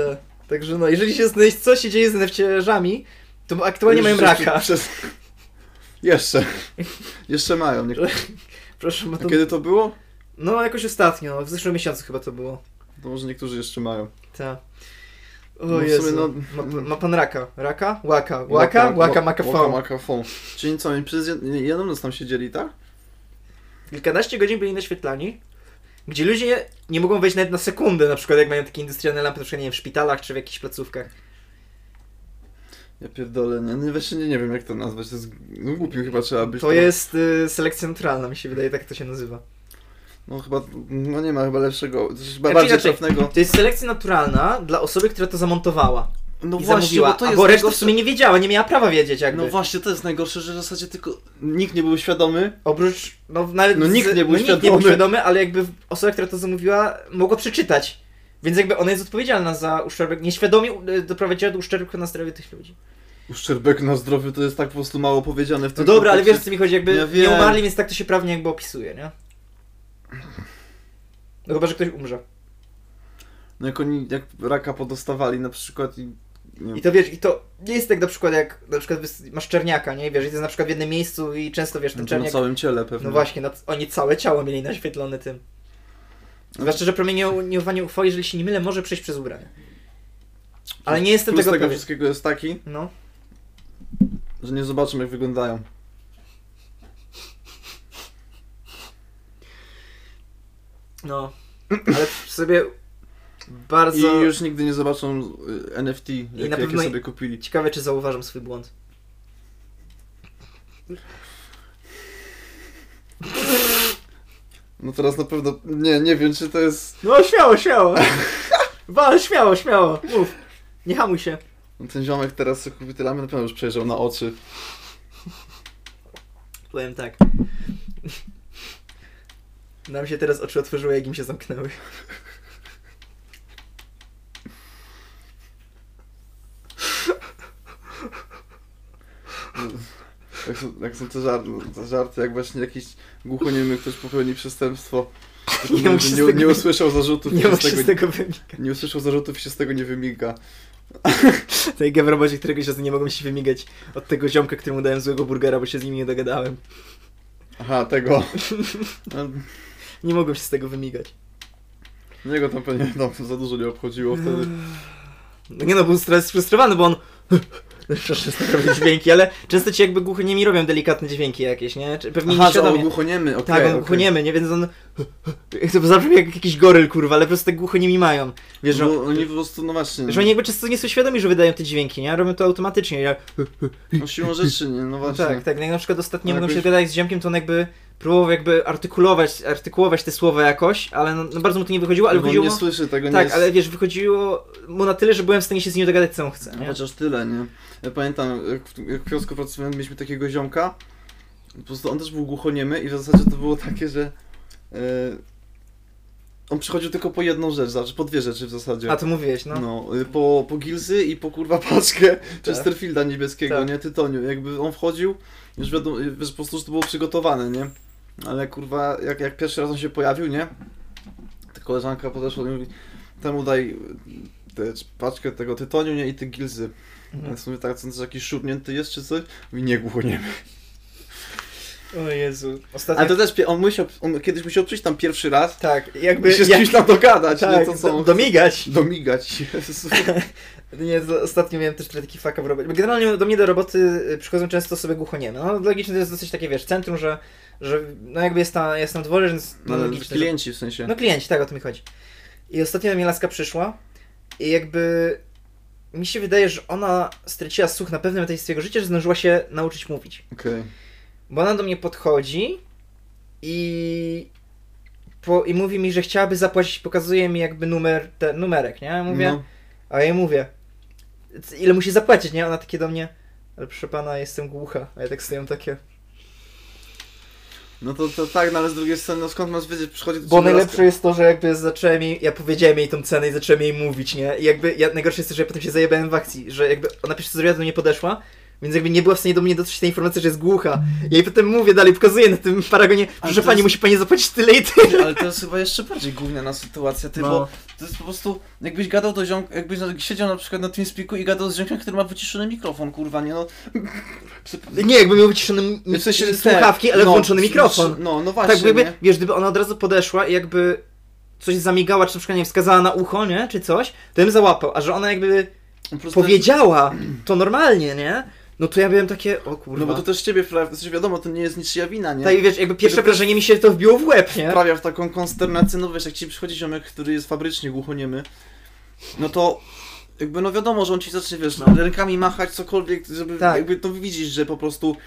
A: Także no, jeżeli się znaleźć, co się dzieje z NFT-żami, to aktualnie mają
B: Już jeszcze
A: raka. (laughs)
B: przez- Jeszcze. Jeszcze mają. Nie...
A: Proszę, ma
B: A
A: to...
B: kiedy to było?
A: No, jakoś ostatnio, w zeszłym miesiącu chyba to było.
B: To może niektórzy jeszcze mają.
A: Ta. O
B: No w sumie
A: Jezu.
B: no- tak,
A: Ma, ma pan raka. Raka? Łaka. Łaka? Łaka
B: Łaka
A: makafon.
B: makafon. Czyli co, oni przez jed... nie- jedną noc tam siedzieli, tak?
A: Kilkanaście godzin byli naświetlani, gdzie ludzie nie, nie mogą wejść nawet na sekundę, na przykład jak mają takie industrialne lampy, na przykład nie wiem, w szpitalach czy w jakichś placówkach.
B: Ja pierdolę, nie, nie, właśnie nie, nie wiem jak to nazwać, to jest no, głupim chyba trzeba być.
A: To jest y, selekcja naturalna, mi się wydaje, tak to się nazywa.
B: No chyba, no nie ma chyba lepszego, chyba
A: Znaczy
B: bardziej
A: inaczej,
B: trafnego.
A: To jest selekcja naturalna dla osoby, która to zamontowała
B: No
A: i zamówiła, a bo reszta w sumie nie wiedziała, nie miała prawa wiedzieć jakby.
B: No właśnie, to jest najgorsze, że w zasadzie tylko nikt nie był świadomy.
A: Oprócz, no nawet
B: No nikt nie był
A: no, nikt nie był
B: świadomy.
A: świadomy, ale jakby osoba, która to zamówiła, mogła przeczytać. Więc jakby ona jest odpowiedzialna za uszczerbek, nieświadomie e, doprowadziła do uszczerbku na zdrowiu tych ludzi.
B: No Uszczerbek na zdrowiu to jest tak po prostu mało powiedziane w
A: No
B: tym
A: dobra, ale wiesz o
B: kontekście.
A: co mi chodzi, jakby
B: znaczy, Ja
A: nie
B: wiem.
A: umarli, więc tak to się prawnie jakby opisuje, nie? No chyba, że ktoś umrze.
B: No jak oni, jak raka podostawali na przykład i... Nie
A: I to wiesz, i to nie jest tak na przykład jak, na przykład wys- masz czerniaka, nie? I Wiesz, i to jest na przykład w jednym miejscu i często wiesz, ten
B: no to na
A: czerniak...
B: całym ciele pewnie.
A: No właśnie, no, oni całe ciało mieli naświetlone tym. Zwłaszcza, że promieniowanie UV, jeżeli się nie mylę, może przejść przez ubranie. Ale nie jestem
B: Plus
A: tego
B: tego
A: pewien.
B: wszystkiego jest taki,
A: No.
B: że nie zobaczę jak wyglądają.
A: No. Ale sobie
B: I
A: bardzo
B: już nigdy nie zobaczą y, NFT, jakie,
A: na
B: jakie
A: pewno-
B: sobie kupili.
A: ciekawe, czy zauważam swój błąd.
B: No teraz na pewno, nie, nie wiem czy to jest...
A: No, śmiało, śmiało. (laughs) Wal, śmiało, śmiało. Mów. Nie hamuj się.
B: Ten ziomek teraz co kupi tyle, na pewno już przejrzał na oczy.
A: Powiem tak. Nam się teraz oczy otworzyły, jak im się zamknęły.
B: Jak są, jak są te, żar, te żarty, jak właśnie jakiś głuchoniemy ktoś popełni przestępstwo.
A: Nie
B: Nie,
A: musi z
B: nie,
A: tego-
B: nie usłyszał zarzutów,
A: Nie
B: i się
A: ma
B: z
A: się z
B: tego,
A: tego wynikać.
B: nie usłyszał zarzutów i się z tego nie wymiga.
A: (laughs) Tej w robocie któregoś razu nie mogłem się wymigać od tego ziomka, któremu dałem złego burgera, bo się z nim nie dogadałem.
B: Aha, tego. No,
A: Nie mogłem się z tego wymigać.
B: No, Niego tam pewnie tam za dużo nie obchodziło wtedy.
A: No nie no, był stres sfrustrowany, bo on... (laughs) Przepraszam, to robię dźwięki, ale często ci jakby głuchoniemi robią delikatne dźwięki jakieś, nie? Czy Pewnie
B: Aha, że o
A: nieświadomie.
B: głuchoniemy, okej.
A: No, Tak, on
B: okej.
A: głuchoniemy, nie? Więc on... (laughs) To zabrzmi jak jakiś goryl, kurwa, ale po prostu tak głuchoniemi mają. Wiesz, że...
B: Bo oni po prostu, no właśnie,
A: Że oni jakby często nie są świadomi, że wydają te dźwięki, nie? Robią to automatycznie, jak...
B: no siłą rzeczy, nie, no
A: No
B: właśnie.
A: tak, tak. No jak na przykład ostatnio
B: No
A: mogłem się
B: jakoś-
A: gadać z ziomkiem, to on jakby próbował jakby artykulować, artykułować te słowa jakoś, ale no, no bardzo mu to nie wychodziło, ale
B: Ale on
A: wychodziło...
B: nie słyszy tego, nie
A: tak,
B: jest...
A: ale wiesz, wychodziło mu na tyle, że byłem w stanie się z nim dogadać, co on chce,
B: No
A: nie?
B: Chociaż tyle, nie? Ja pamiętam, jak w, jak w kiosku pracowałem, mieliśmy takiego ziomka. Po prostu on też był głuchoniemy i w zasadzie to było takie, że... e, on przychodził tylko po jedną rzecz, znaczy po dwie rzeczy w zasadzie.
A: A to mówiłeś, no.
B: No, y, po, po gilzy i po kurwa paczkę Chesterfielda niebieskiego,
A: Tak.
B: nie? Tytoniu. Jakby on wchodził, już wiadomo, y, wiesz, po prostu już to było przygotowane, nie? Ale kurwa, jak, jak pierwszy raz on się pojawił, nie? Ta koleżanka podeszła i mówi, temu daj y, tę paczkę tego tytoniu, nie? I te gilzy.
A: Mhm.
B: Ja sobie tak, co on też jakiś szurnięty jest czy coś? Mówi, nie, głucho nie wiem.
A: O Jezu. Ostatnio...
B: Ale to też, pie- on musiał, on kiedyś musiał przyjść tam pierwszy raz
A: Tak, jakby...
B: i się z
A: jak-
B: kimś tam dogadać, nie?
A: tak,
B: To co?
A: do,
B: on
A: domigać.
B: chce? Domigać, Jezu.
A: Nie, to ostatnio miałem też taki fuck up robić. Bo Generalnie do mnie do roboty y, przychodzą często osoby głuchonieme. No logiczne to jest dosyć takie, wiesz, centrum, że, że no jakby jest na, jest na dworze, więc (laughs) no,
B: No, ale
A: logiczne, że
B: klienci w sensie.
A: No klienci, tak o to mi chodzi. I ostatnio do mnie laska przyszła i jakby mi się wydaje, że ona straciła słuch na pewnym etapie swojego życia, że zdążyła się nauczyć mówić.
B: Okej.
A: Bo ona do mnie podchodzi i, po, i mówi mi, że chciałaby zapłacić, pokazuje mi jakby numer, te, numerek, nie? Mówię,
B: No.
A: a ja jej mówię, "C- ile musi zapłacić, nie? Ona takie do mnie, ale proszę pana, jestem głucha, a ja tak stoję takie.
B: No to, to tak, no ale z drugiej strony, no skąd masz wiedzieć, przychodzi do
A: Bo
B: ciebie
A: najlepsze jest to, że jakby zacząłem jej, ja powiedziałem jej tą cenę i zacząłem jej mówić, nie? I jakby, ja, najgorsze jest to, że ja potem się zajebałem w akcji, że jakby ona pierwsze co zrobiła, do mnie podeszła, więc jakby nie była w stanie do mnie dotrzeć tej informacji, że jest głucha. Ja jej potem mówię dalej, pokazuję na tym paragonie,
B: Ale
A: że
B: to
A: pani
B: jest-
A: musi pani zapłacić tyle i tyle.
B: Ale to jest chyba jeszcze bardziej gówniana sytuacja, ty,
A: No.
B: bo to jest po prostu, jakbyś gadał do ziomka, jakbyś na- siedział na przykład na TeamSpeaku i gadał z ziomkiem, który ma wyciszony mikrofon, kurwa, nie no.
A: Nie, jakby miał wyciszone mi-
B: W sensie,
A: słuchawki,
B: te-
A: ale
B: no,
A: włączony mikrofon.
B: No, no właśnie,
A: tak, bo jakby,
B: nie?
A: wiesz, gdyby ona od razu podeszła i jakby coś zamigała, czy na przykład nie wiem, wskazała na ucho, nie? Czy coś, to bym załapał, a że ona jakby
B: Po prostu-
A: powiedziała to normalnie, nie? No to ja byłem takie, o kurwa.
B: No bo to też ciebie, wprawia- w sensie wiadomo, to nie jest niczyja wina, nie?
A: Tak, i wiesz, jakby pierwsze
B: Że to-
A: wrażenie mi się to wbiło w łeb, nie?
B: wprawia w taką konsternację, no wiesz, jak ci przychodzi ziomek, który jest fabrycznie głuchoniemy, no to jakby no wiadomo, że on ci zacznie, wiesz,
A: No.
B: rękami machać, cokolwiek, żeby
A: Tak.
B: jakby to widzisz, że po prostu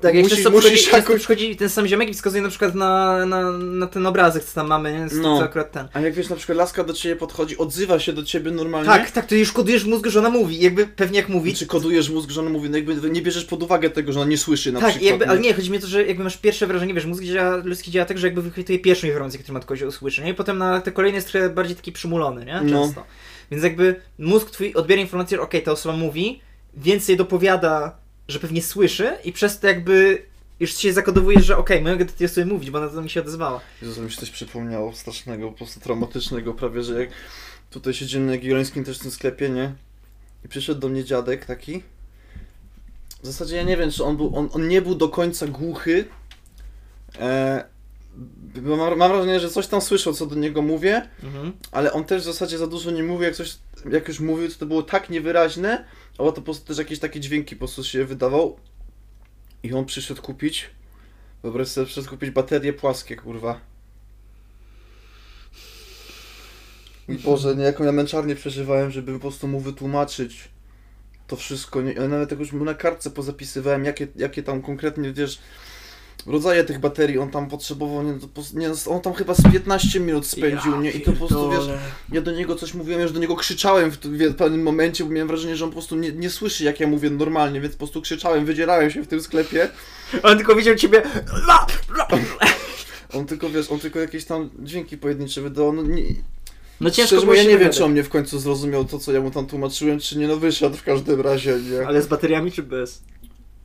A: Tak, jak
B: musisz,
A: często
B: musisz
A: przychodzi, często
B: jakoś...
A: przychodzi ten sam ziomek i wskazuje na przykład na, na, na ten obrazek, co tam mamy, nie? Z
B: No.
A: co akurat ten.
B: A jak wiesz, na przykład laska do ciebie podchodzi, odzywa się do ciebie normalnie,
A: Tak, tak, to już kodujesz w mózgu, że ona mówi, jakby pewnie jak mówi.
B: czy kodujesz mózg, że on mówi, no jakby nie bierzesz pod uwagę tego, że ona nie słyszy na
A: tak,
B: przykład. no.
A: jakby, ale nie, chodzi mi o to, że jakby masz pierwsze wrażenie, wiesz, mózg działa, ludzki działa tak, że jakby wychwytuje pierwszą informację, którą od kogoś usłyszy, nie? I potem na te kolejne jest trochę bardziej taki przymulony, nie?
B: No.
A: Często. Więc jakby mózg twój odbiera informację, że okej, ta osoba mówi, więcej dopowiada, że pewnie słyszy i przez to jakby już się zakodowujesz, że okej, mogę do tej osoby mówić, bo ona do mnie się odezwała.
B: Jezus, mi się coś przypomniało strasznego, po prostu traumatycznego, prawie że jak tutaj siedzimy na Gilońskim też w tym sklepie, nie? I przyszedł do mnie dziadek taki. W zasadzie ja nie wiem, czy on był, on, on nie był do końca głuchy. E, bo mam, mam wrażenie, że coś tam słyszał, co do niego mówię,
A: Mhm.
B: ale on też w zasadzie za dużo nie mówił, jak coś, jak już mówił, to, to było tak niewyraźne, a to po prostu też jakieś takie dźwięki po prostu się wydawał. I on przyszedł kupić, wyobraź sobie, przyszedł kupić baterie płaskie, kurwa. I Boże, nie, jaką ja męczarnię przeżywałem, żeby po prostu mu wytłumaczyć to wszystko. Nie, ja nawet jakoś mu na kartce pozapisywałem, jakie, jakie tam konkretnie, wiesz, rodzaje tych baterii on tam potrzebował. Nie, No to, po- nie, on tam chyba z 15 minut spędził, nie? I to po prostu, wiesz, ja do niego coś mówiłem, już do niego krzyczałem w, t- w pewnym momencie, bo miałem wrażenie, że on po prostu nie, nie słyszy, jak ja mówię normalnie, więc po prostu krzyczałem, wydzierałem się w tym sklepie.
A: On tylko widział ciebie. La! La!
B: On tylko, wiesz, on tylko jakieś tam dźwięki pojedyncze wydawał, no nie...
A: No
B: Szczerze,
A: było
B: mówiąc, ja
A: się
B: nie wiem,
A: dogadać.
B: czy on mnie w końcu zrozumiał to, co ja mu tam tłumaczyłem, czy nie, no wyszedł w każdym razie, nie.
A: Ale z bateriami czy bez?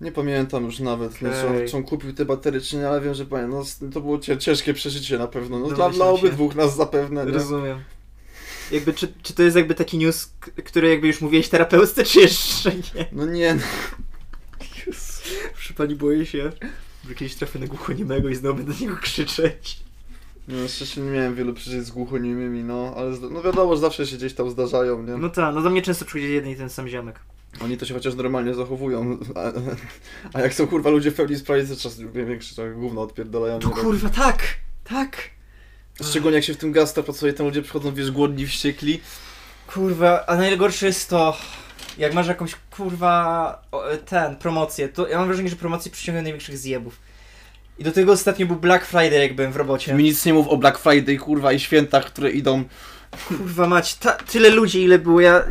B: Nie pamiętam już nawet, nie, czy,
A: Okej.
B: on, czy on kupił te baterie, czy nie, ale wiem, że panie, no, s- to było cie- ciężkie przeżycie na pewno, no dla,
A: Domyślam
B: dla
A: się.
B: obydwóch nas zapewne, nie.
A: Rozumiem. Jakby, czy, czy to jest jakby taki news, k- który jakby już mówiłeś terapeutce, czy jeszcze nie?
B: No nie, no.
A: Proszę pani, boję się, że kiedyś trafię na głuchoniemego i znowu będę do niego krzyczeć.
B: No, szczerze nie miałem wielu przeżyć z głuchonimymi, no, ale z- no wiadomo, że zawsze się gdzieś tam zdarzają, nie?
A: No tak, no do mnie często przychodzi jeden i ten sam ziomek.
B: Oni to się chociaż normalnie zachowują, a, a jak są kurwa ludzie w pełni sprawy, to czas większy, to gówno odpierdalają.
A: To
B: nie?
A: kurwa, tak! Tak!
B: Szczególnie jak się w tym gasta pracuje, tam ludzie przychodzą, wiesz, głodni, wściekli.
A: Kurwa, a najgorsze jest to, jak masz jakąś kurwa o, e, ten, promocję, to ja mam wrażenie, że promocje przyciągają największych zjebów. I do tego ostatnio był Black Friday, jak byłem w robocie.
B: Mi nic nie mów o Black Friday, kurwa, i świętach, które idą,
A: Kurwa mać, ta, tyle ludzi, ile było, ja,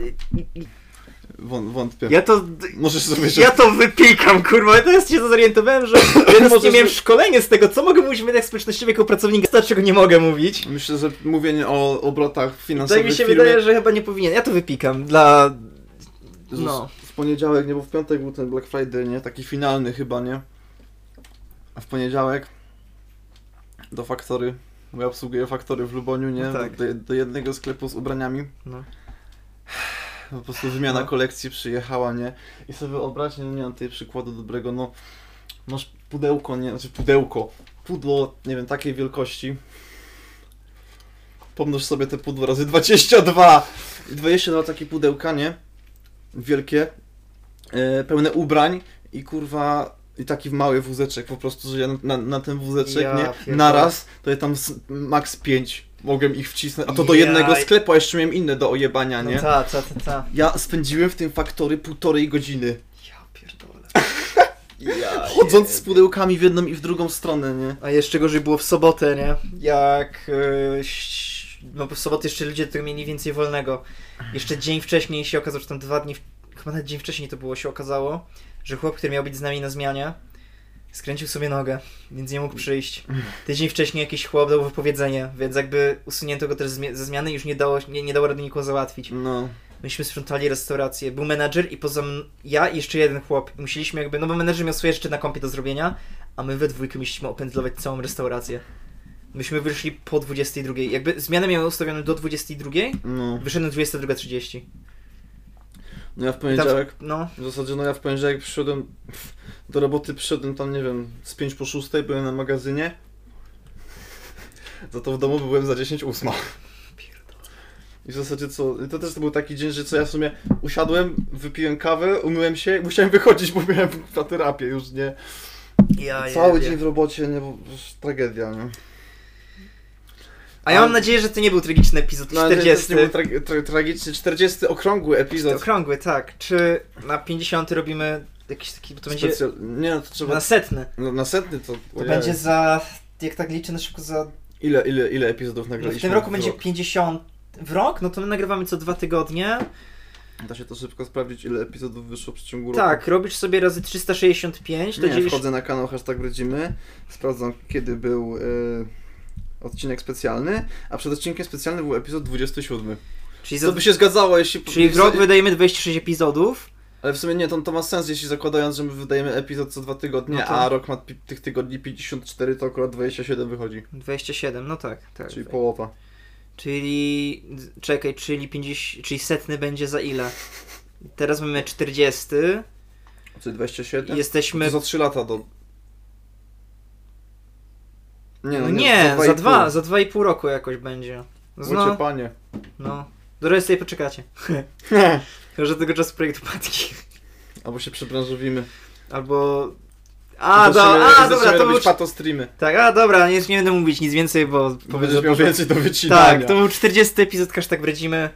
B: Wą- wątpię.
A: ja to,
B: Możesz sobie
A: ja to wypikam, kurwa, ja teraz się zorientowałem, że ja teraz nie
B: Możesz-
A: miałem szkolenia z tego, co mogę mówić w mediach społecznościowych jako pracownik gesta, czego nie mogę mówić.
B: Myślę, że mówienie o obrotach
A: Tak
B: finansowych
A: mi się
B: firmy...
A: wydaje, że chyba nie powinien, ja to wypikam dla,
B: Jezus,
A: no.
B: W poniedziałek, nie, bo w piątek był ten Black Friday, nie? Taki finalny chyba, nie? A w poniedziałek do Faktory, bo ja obsługuję Faktory w Luboniu, nie?
A: No tak.
B: do, do jednego sklepu z ubraniami.
A: no.
B: Po prostu wymiana
A: No.
B: kolekcji przyjechała, nie? I sobie wyobraź, nie, nie mam tutaj przykładu dobrego, no... Masz pudełko, nie? Znaczy pudełko. Pudło, nie wiem, takiej wielkości. Pomnóż sobie te pudło razy 22! I 22 takie pudełka, nie? Wielkie. E, pełne ubrań i kurwa... I taki mały wózeczek po prostu, że ja na, na, na ten wózeczek,
A: Ja
B: nie?
A: pierdolę.
B: Naraz, to ja tam s- max 5 mogłem ich wcisnąć, a to do
A: Ja-
B: jednego sklepu, a jeszcze miałem inne do ojebania,
A: No
B: nie?
A: ta, ta, ta, ta.
B: Ja spędziłem w tym faktory półtorej godziny.
A: (laughs) Ja pierdolę. Ja
B: Chodząc z pudełkami w jedną i w drugą stronę, nie?
A: A jeszcze gorzej było w sobotę, nie? Jak. e, ś- No bo w sobotę jeszcze ludzie tylko mieli więcej wolnego. Jeszcze dzień wcześniej się okazało, że tam dwa dni. w- Chyba nawet dzień wcześniej to było, się okazało, że chłop, który miał być z nami na zmianie, skręcił sobie nogę, więc nie mógł przyjść. Tydzień wcześniej jakiś chłop dał wypowiedzenie, więc jakby usunięto go też z mie- ze zmiany i już nie dało, nie, nie dało rady nikogo załatwić.
B: No.
A: Myśmy sprzątali restaurację. Był menadżer i poza m- ja i jeszcze jeden chłop. I Musieliśmy jakby, no bo menadżer miał swoje rzeczy na kompie do zrobienia, a my we dwójkę musieliśmy opędzlować całą restaurację. Myśmy wyszli po 22. Jakby zmiany miały ustawione do 22,
B: No.
A: wyszedłem 22.30.
B: No ja w
A: I tam-
B: poniedziałek.
A: No,
B: W zasadzie no ja w poniedziałek przyszedłem do roboty, przyszedłem tam, nie wiem, z 5 po 6, byłem na magazynie. Za to w domu byłem za 10 ósma. I w zasadzie co, to też to był taki dzień, że co ja w sumie usiadłem, wypiłem kawę, umyłem się i musiałem wychodzić, bo miałem na terapię już, nie?
A: ja
B: Cały
A: jebie.
B: dzień w robocie, nie, bo już tragedia, nie?
A: A ja mam nadzieję, że to nie był tragiczny epizod
B: No, ale to też
A: 40.
B: nie był tra- tra- tragiczny 40 okrągły epizod.
A: Okrągły, tak. Czy na 50 robimy jakiś taki, bo to będzie
B: Specjal- Nie, no to trzeba...
A: na setny.
B: No, następny to...
A: To będzie za, jak tak liczę na szybko, za
B: Ile, ile, ile epizodów nagraliśmy?
A: W tym roku
B: w
A: będzie
B: rok?
A: 50 w rok, no to my nagrywamy co dwa tygodnie.
B: Da się to szybko sprawdzić, ile epizodów wyszło w ciągu roku.
A: Tak, robisz sobie razy 365, to
B: Nie,
A: dzielisz...
B: wchodzę na kanał hashtag rodzimy, sprawdzam kiedy był e, odcinek specjalny, a przed odcinkiem specjalnym był epizod 27.
A: Czyli, za...
B: To by się zgadzało, jeśli...
A: Czyli w rok wydajemy 26 epizodów.
B: Ale w sumie nie, to, to ma sens, jeśli zakładając, że my wydajemy epizod co dwa tygodnie,
A: No to-
B: a rok ma pi- tych tygodni 54, to akurat 27 wychodzi.
A: 27, no tak, tak.
B: Czyli połowa.
A: Czyli... czekaj, czyli 50... czyli setny będzie za ile? Teraz mamy 40
B: Czyli 27?
A: i jesteśmy...
B: tak- To za 3 lata do... Nie,
A: No
B: no
A: nie,
B: dwa
A: za
B: i
A: dwa,
B: pół.
A: za dwa i pół roku jakoś będzie.
B: Łocie
A: No,
B: panie.
A: (laughs) no. Do reszty sobie poczekacie. Chyba, że tego czasu projekt
B: (laughs)
A: upadki.
B: Albo się przebranżowimy.
A: Albo. A, do,
B: Zaczniemy-
A: a
B: zaczniemy
A: dobra, to był.
B: robić pato streamy.
A: Tak, a dobra, nie, nie będę mówić nic więcej, bo
B: Będziesz
A: że-
B: miał więcej do wycinania.
A: Tak, to był 40 epizod, każdy tak bredzimy.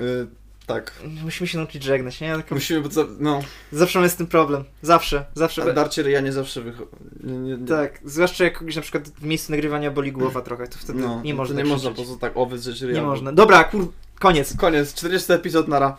B: Y, tak.
A: Musimy się nauczyć żegnać, nie? Tak,
B: Musimy, bo za, no,
A: zawsze mamy z tym problem. Zawsze, zawsze.
B: a darcie ryja nie zawsze wychodzi.
A: Tak, zwłaszcza jak kogoś na przykład w miejscu nagrywania boli głowa trochę, to wtedy
B: no,
A: nie
B: to
A: można. tak
B: Nie
A: krzyczeć.
B: można, po prostu tak o, wydrzeć ryja.
A: Nie
B: bo-
A: można. Dobra, kur... koniec.
B: Koniec, 40 epizod, nara.